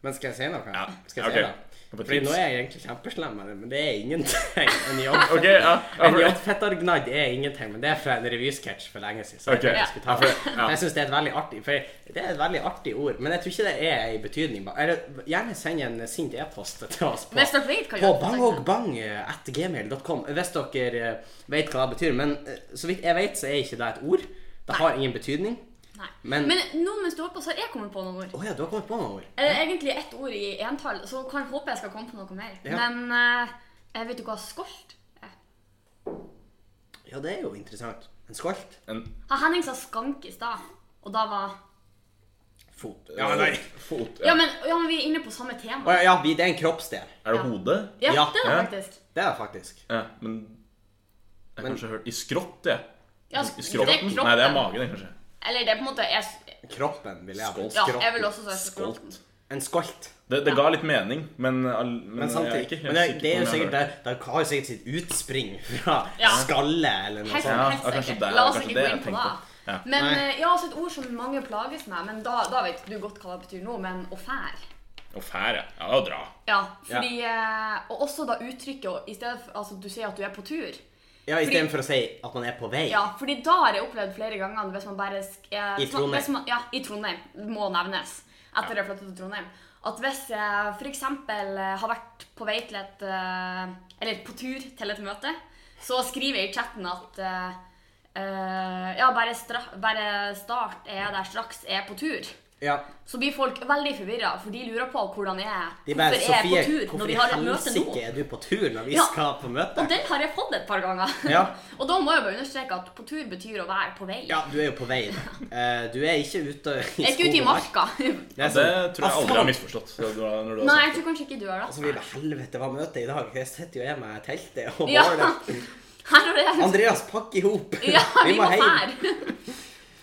Men skal jeg si noe?
Ja,
Skal jeg
ok.
si
Jeg får
noe? Fordi
tips.
nå er jeg egentlig kjempeslem, men- men det er ingenting. En jobb-
Ok, ja. Ja,
[LAUGHS] en
for-
jobbfettargnadd er ingenting, men det er fra en revysketsj for lenge siden. Så jeg
Ok,
tenkte
ja.
jeg skulle ta
Ja, for- ja.
det. Jeg syns det er et veldig artig for det er et veldig artig ord, men jeg tror ikke det er ei betydning bak Eller gjerne send en sint e-post til oss på
Hvis dere vet hva
på
gjør,
bangogbang.gmail.com hvis dere eh, vet hva det betyr. Men eh, så vidt jeg vet, så er ikke det et ord. Det har ingen betydning.
Nei.
Men-
Men nå mens du holder på, så har jeg kommet på noen ord.
Å ja, du har kommet på noen ord.
Eller egentlig ett ord i entall, så kan håper jeg skal komme på noe mer.
Ja.
Men eh, jeg vet du hva skolt er?
Ja, det er jo interessant. En skolt.
En
Ha Ah, Henning sa skank i stad, og da var
Fot.
ja,
Ja, nei.
eh, fot
ja
ja.
men, ja, men vi er inne på samme
Å
tema.
ja, ja, vi- det er en kroppsdel.
Er det
Ja.
hodet?
Ja,
Ja.
det er det
Ja.
faktisk.
Det er det faktisk.
Ja, men Jeg har
Men-
kanskje hørt I skrått, jeg.
Ja,
I
sk- det er
skrotten?
kroppen.
Nei, det er magen, det, kanskje.
Eller det er på en måte jeg,
Kroppen, vil jeg
Skolt.
Ja,
Skrotten.
jeg vil også si
Skolt.
skrotten.
En skolt.
Det, det ga litt mening, men, all, men,
Men
jeg er
samtidig
ikke
men
helt
det, det er jo
sikker på om jeg
sikkert
har hørt
det, det har jo sikkert sitt utspring fra
Ja.
skalle eller noe
Helt,
sånt.
Ja,
helt
ja, kanskje
sikkert.
det er-
La oss
kanskje
ikke
det
gå
jeg
inn på det.
tenkte. Ja.
Men
Nei.
eh, ja, altså et ord som mange plages med, men da, da vet du godt hva det betyr nå, men å fære.
Å fære. Ja, å dra.
Ja, fordi eh, Og også da uttrykket og i stedet for, Altså, du sier at du er på tur.
Ja, Istedenfor å si at man er på vei.
Ja, fordi da har jeg opplevd flere ganger Hvis man bare sk eh,
I
hvis man-
Trondheim.
hvis man, Ja, i Trondheim Må nevnes Etter jeg flyttet til Trondheim At hvis jeg for eksempel eh, Har vært på vei til et eh, Eller på tur til et møte Så skriver jeg i chatten at eh, eh, Ja, bare, stra- bare start Er jeg der straks Jeg er på tur
Ja.
Så blir folk veldig forvirret For de lurer på hvordan jeg er
De bare,
Hvorfor jeg
Sofie,
er på tur
hvorfor
Når
i
vi har et møte nå
helsike er du på tur når vi
Ja.
skal på møte?
Og den har jeg fått et par ganger [LAUGHS]
Ja.
Og da må jeg bare understreke at På tur betyr å være på vei
Ja, du er jo på
[LAUGHS]
vei. da. Eh, Du er ikke ute i
Jeg skal ut i
skog og mark.
marka.
[LAUGHS] Det
Ja,
er
det
sånn,
tror
«Ah,
jeg aldri
faen!» Altså,
har misforstått. så du har- Når du
Nei,
har
jeg
sagt det.
tror kanskje ikke du gjør
Og
det.
Så blir det helvete, hva møtet i dag? Jeg sitter jo her med teltet og
Ja. [LAUGHS]
bålet.
Her og der.
Andreas, pakk i hop! [LAUGHS]
Ja, vi må her.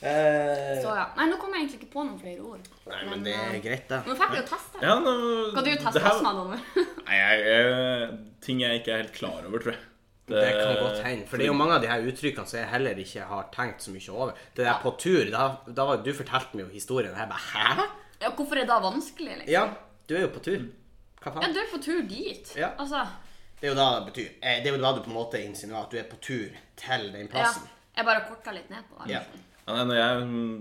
Eh,
Så ja. Nei, nå kom jeg egentlig ikke på noen flere ord.
Nei, men det er greit, det.
Nå fikk vi jo teste.
Ja, nå,
Skal du
det
teste
her-
astmaen over?
Nei, jeg, jeg, ting jeg ikke er helt klar over, tror jeg.
Det kan godt hende. For det er Eh, jo mange av de her uttrykkene som jeg heller ikke har tenkt så mye over. Det der på tur, da, da var, du fortalte meg jo historien, og jeg bare Hæ?
[LAUGHS] Ja, hvorfor er det da vanskelig, liksom?
Ja, du er jo på tur. Hva
Ja,
faen?
du er på tur dit.
Ja.
Altså.
Det er jo da det betyr eh, Det er jo da du på en måte insinuerer at du er på tur til den
Ja.
plassen.
Jeg bare korta litt ned på det.
Ja.
liksom.
Ja, nei, når jeg, mm,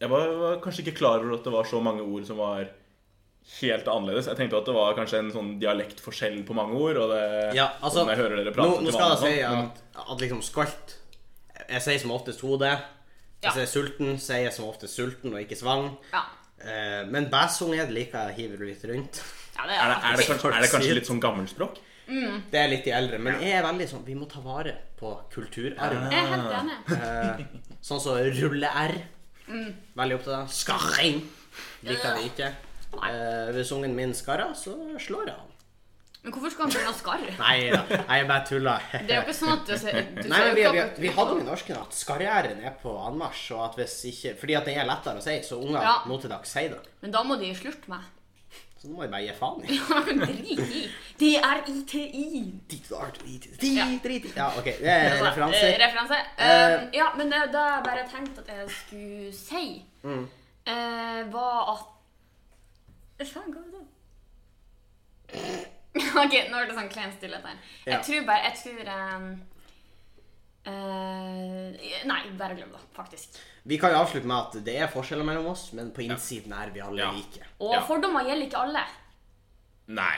jeg var, var kanskje ikke klar over at det var så mange ord som var helt annerledes. Jeg tenkte at det var kanskje en sånn dialektforskjell på mange ord. Og det,
Ja, altså,
og når jeg hører dere
nå, nå
prate til
skal jeg
vanlig
si
og sånn,
at, at liksom skalt Jeg sier som oftest hode.
Ja.
Hvis jeg er sulten, sier jeg som oftest sulten og ikke svang.
Ja.
Eh, men bæsunge liker jeg hiver litt rundt.
ja, det
men er, det, er, det
faktisk-
kanskje, er det kanskje litt sånn gammelspråk?
Det er litt de eldre. Men jeg er veldig sånn Vi må ta vare på kulturarven.
Jeg er helt enig.
Eh, sånn som rulle-r. Veldig opptatt av. Skarring liker jeg ikke. Eh, hvis ungen min skarrer, så slår jeg han.
Men hvorfor skal han begynne å skarre?
Nei da, jeg bare tuller.
Det er jo ikke sånn at du ser du
[LAUGHS] Nei,
ser jo
men vi,
ikke
vi,
at-
vi hadde jo i norsken at skarrieren er på anmarsj, og at hvis ikke Fordi at den er lettere å si, så unger
Ja.
nå til dags sier det.
Men da må de slutte med.
Så nå må jeg bare gi faen i
Drit i. D-r-i-t-i.
Drit og art og drit i- drit-
Ja.
drit i- Ja, OK. Det er
Eh,
referanser.
referanse. Eh, ja, men det, det jeg bare tenkte at jeg skulle si, eh, var at Hva faen ga det? [LAUGHS] OK, nå ble det sånn klein stillhet her. Jeg
Ja.
tror bare Jeg tror eh, eh, Nei, bare glem det, faktisk.
Vi kan jo avslutte med at det er forskjeller mellom oss, men på innsiden er vi alle
Ja.
like.
Og
Ja.
fordommer gjelder ikke alle.
Nei.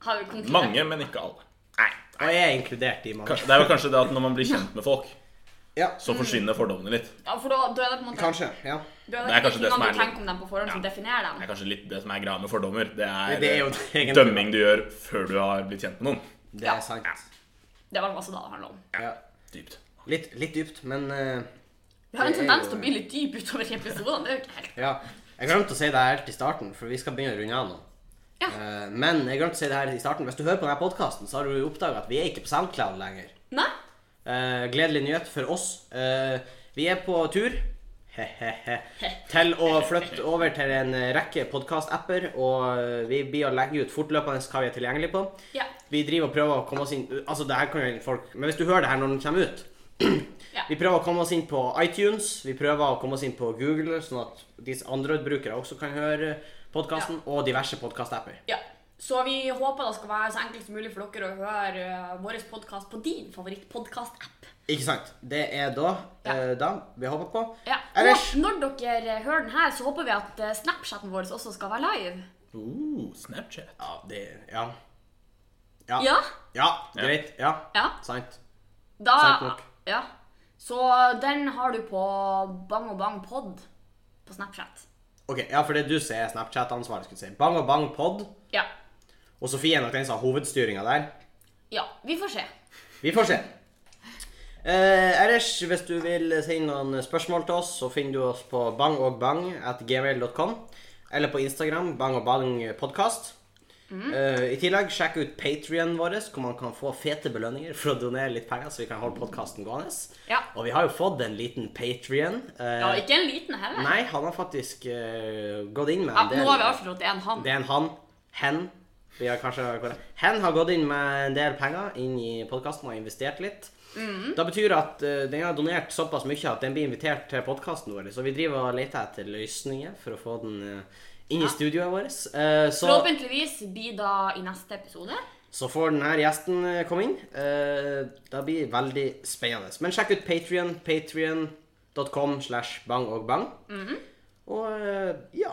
Har vi konkludert?
Mange, men ikke alle. Nei.
Og jeg er inkludert i mange.
Kanskje, det er jo kanskje det at når man blir kjent med folk,
Ja,
så forsvinner fordommene litt.
Ja, for da, da er det på en måte
kanskje. Ja.
da er
Det er kanskje
det
det som
som
er
du
litt-
tenker om dem på forhånd, som
Ja.
definerer dem.
Det er kanskje litt det som er greia med fordommer. Det er,
Det er jo det egentlig.
dømming du gjør før du har blitt kjent med noen.
Det
Ja.
er sant.
Det er vel masse det det handler om.
Ja.
Dypt.
Litt, litt dypt, men eh,
Vi har en
Det er
tendens
jo-
til å bli litt dyp utover i episodene. Det er jo ikke helt
Ja. Jeg glemte å si det her helt i starten, for vi skal begynne å runde av nå.
Ja.
Eh, Men jeg glemte å si det her i starten. Hvis du hører på denne podkasten, så har du oppdaga at vi er ikke på SoundCloud lenger.
Nei?
Eh, gledelig nyhet for oss. Eh, vi er på tur he-he-he, til å flytte over til en rekke podkast-apper, og eh, vi blir å legge ut fortløpende hva vi er tilgjengelig på.
Ja.
Vi driver og prøver å komme oss inn Altså, det her kan jo egentlig folk Men hvis du hører det her når den kommer ut [CLEARS THROAT]
Ja.
Vi prøver å komme oss inn på iTunes, vi prøver å komme oss inn på Google, sånn at disse Android-brukere også kan høre podkasten og diverse podkastapper.
Ja. Så vi håper det skal være så enkelt som mulig for dere å høre eh, vår podkast på din favorittpodkast-app.
Ikke sant? Det er da,
Ja.
eh, da vi håper på.
Ja.
Ellers
Og når dere hører den her, så håper vi at eh, Snapchaten vår også skal være live.
Uh, Snapchat.
Ja, det Ja.
Ja?
ja greit. Ja.
Ja.
Sant.
Da,
Sant nok.
ja. Så den har du på Bang og Bang Pod på Snapchat.
Ok, ja, for det du ser er Snapchat-ansvaret, skulle jeg si. Bang og bang pod.
Ja.
Og Sofie er nok den som har hovedstyringa der.
Ja, vi får se.
Vi får se. Eh, ellers, hvis du vil sende noen spørsmål til oss, så finner du oss på bangogbang at gmail.com. Eller på Instagram bangogbangpodkast.
Mm.
Eh, I tillegg, sjekk ut Patrionen vår, hvor man kan få fete belønninger for å donere litt penger, så vi kan holde podkasten gående.
Ja.
Og vi har jo fått en liten Patrion.
Ja, ikke en liten heller.
Eh, Nei, han har faktisk eh, gått inn med
Ja,
en
nå
del
har vi avslørt at det er en han.
det er en han. Hen. Vi har kanskje Hen har gått inn med en del penger inn i podkasten og investert litt. Det betyr at eh, den har donert såpass mye at den blir invitert til podkasten vår. Så vi driver og leter etter løsninger for å få den eh, inn i studioet vårt. Eh, så,
Forhåpentligvis blir da i neste episode.
så får denne gjesten eh, komme inn. Eh, det blir veldig spennende. Men sjekk ut Patrion. Patrion.com slash bang og bang. Og eh, ja.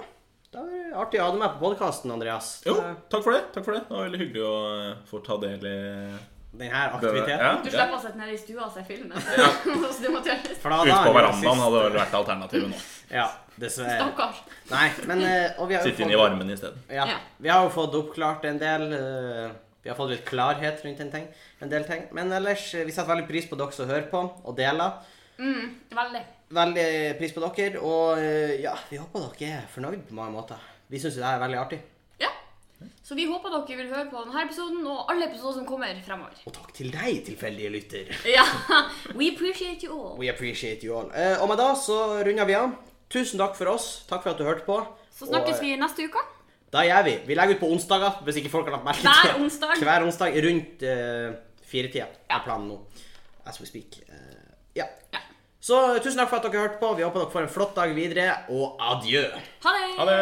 Det var artig å ha deg med på podkasten, Andreas.
Jo,
Eh,
takk for det. takk for det Det var veldig hyggelig å eh, få ta del i
Denne aktiviteten.
Ja,
Du
ja.
slipper å sitte nede i stua og se filmen. [LAUGHS] Så du må tørre
For da- da er
Ute på
det jo
verandaen
sist-
hadde vel vært alternativet nå.
[LAUGHS] Ja, dessverre.
Stakkars.
Nei, men eh, og vi har jo
Sitte inne i
fått,
varmen isteden.
ja,
Ja.
vi har jo fått oppklart en del eh, Vi har fått litt klarhet rundt en, ting, en del ting. Men ellers, eh, vi setter veldig pris på dere som hører på og deler.
Veldig.
Veldig pris på dere. Og eh, ja, vi håper dere er fornøyd på mange måter. Vi syns jo det her er veldig artig.
Ja. Så vi håper dere vil høre på denne episoden og alle episoder som kommer fremover.
Og takk til deg, tilfeldige lytter.
Ja. [LAUGHS] We appreciate you all.
We appreciate you all. Eh, og med det så runder vi av. Tusen takk for oss. Takk for at du hørte på.
Så snakkes
Og,
vi neste uke.
Da gjør vi. Vi legger ut på onsdager, hvis ikke folk har lagt merke til
Hver
det.
onsdag.
Hver onsdag rundt uh, firetida
Ja.
er planen nå. As we speak. Eh, ja.
Ja.
Så tusen takk for at dere hørte på. Vi håper dere får en flott dag videre, og adjø.
Ha det.
Ha det!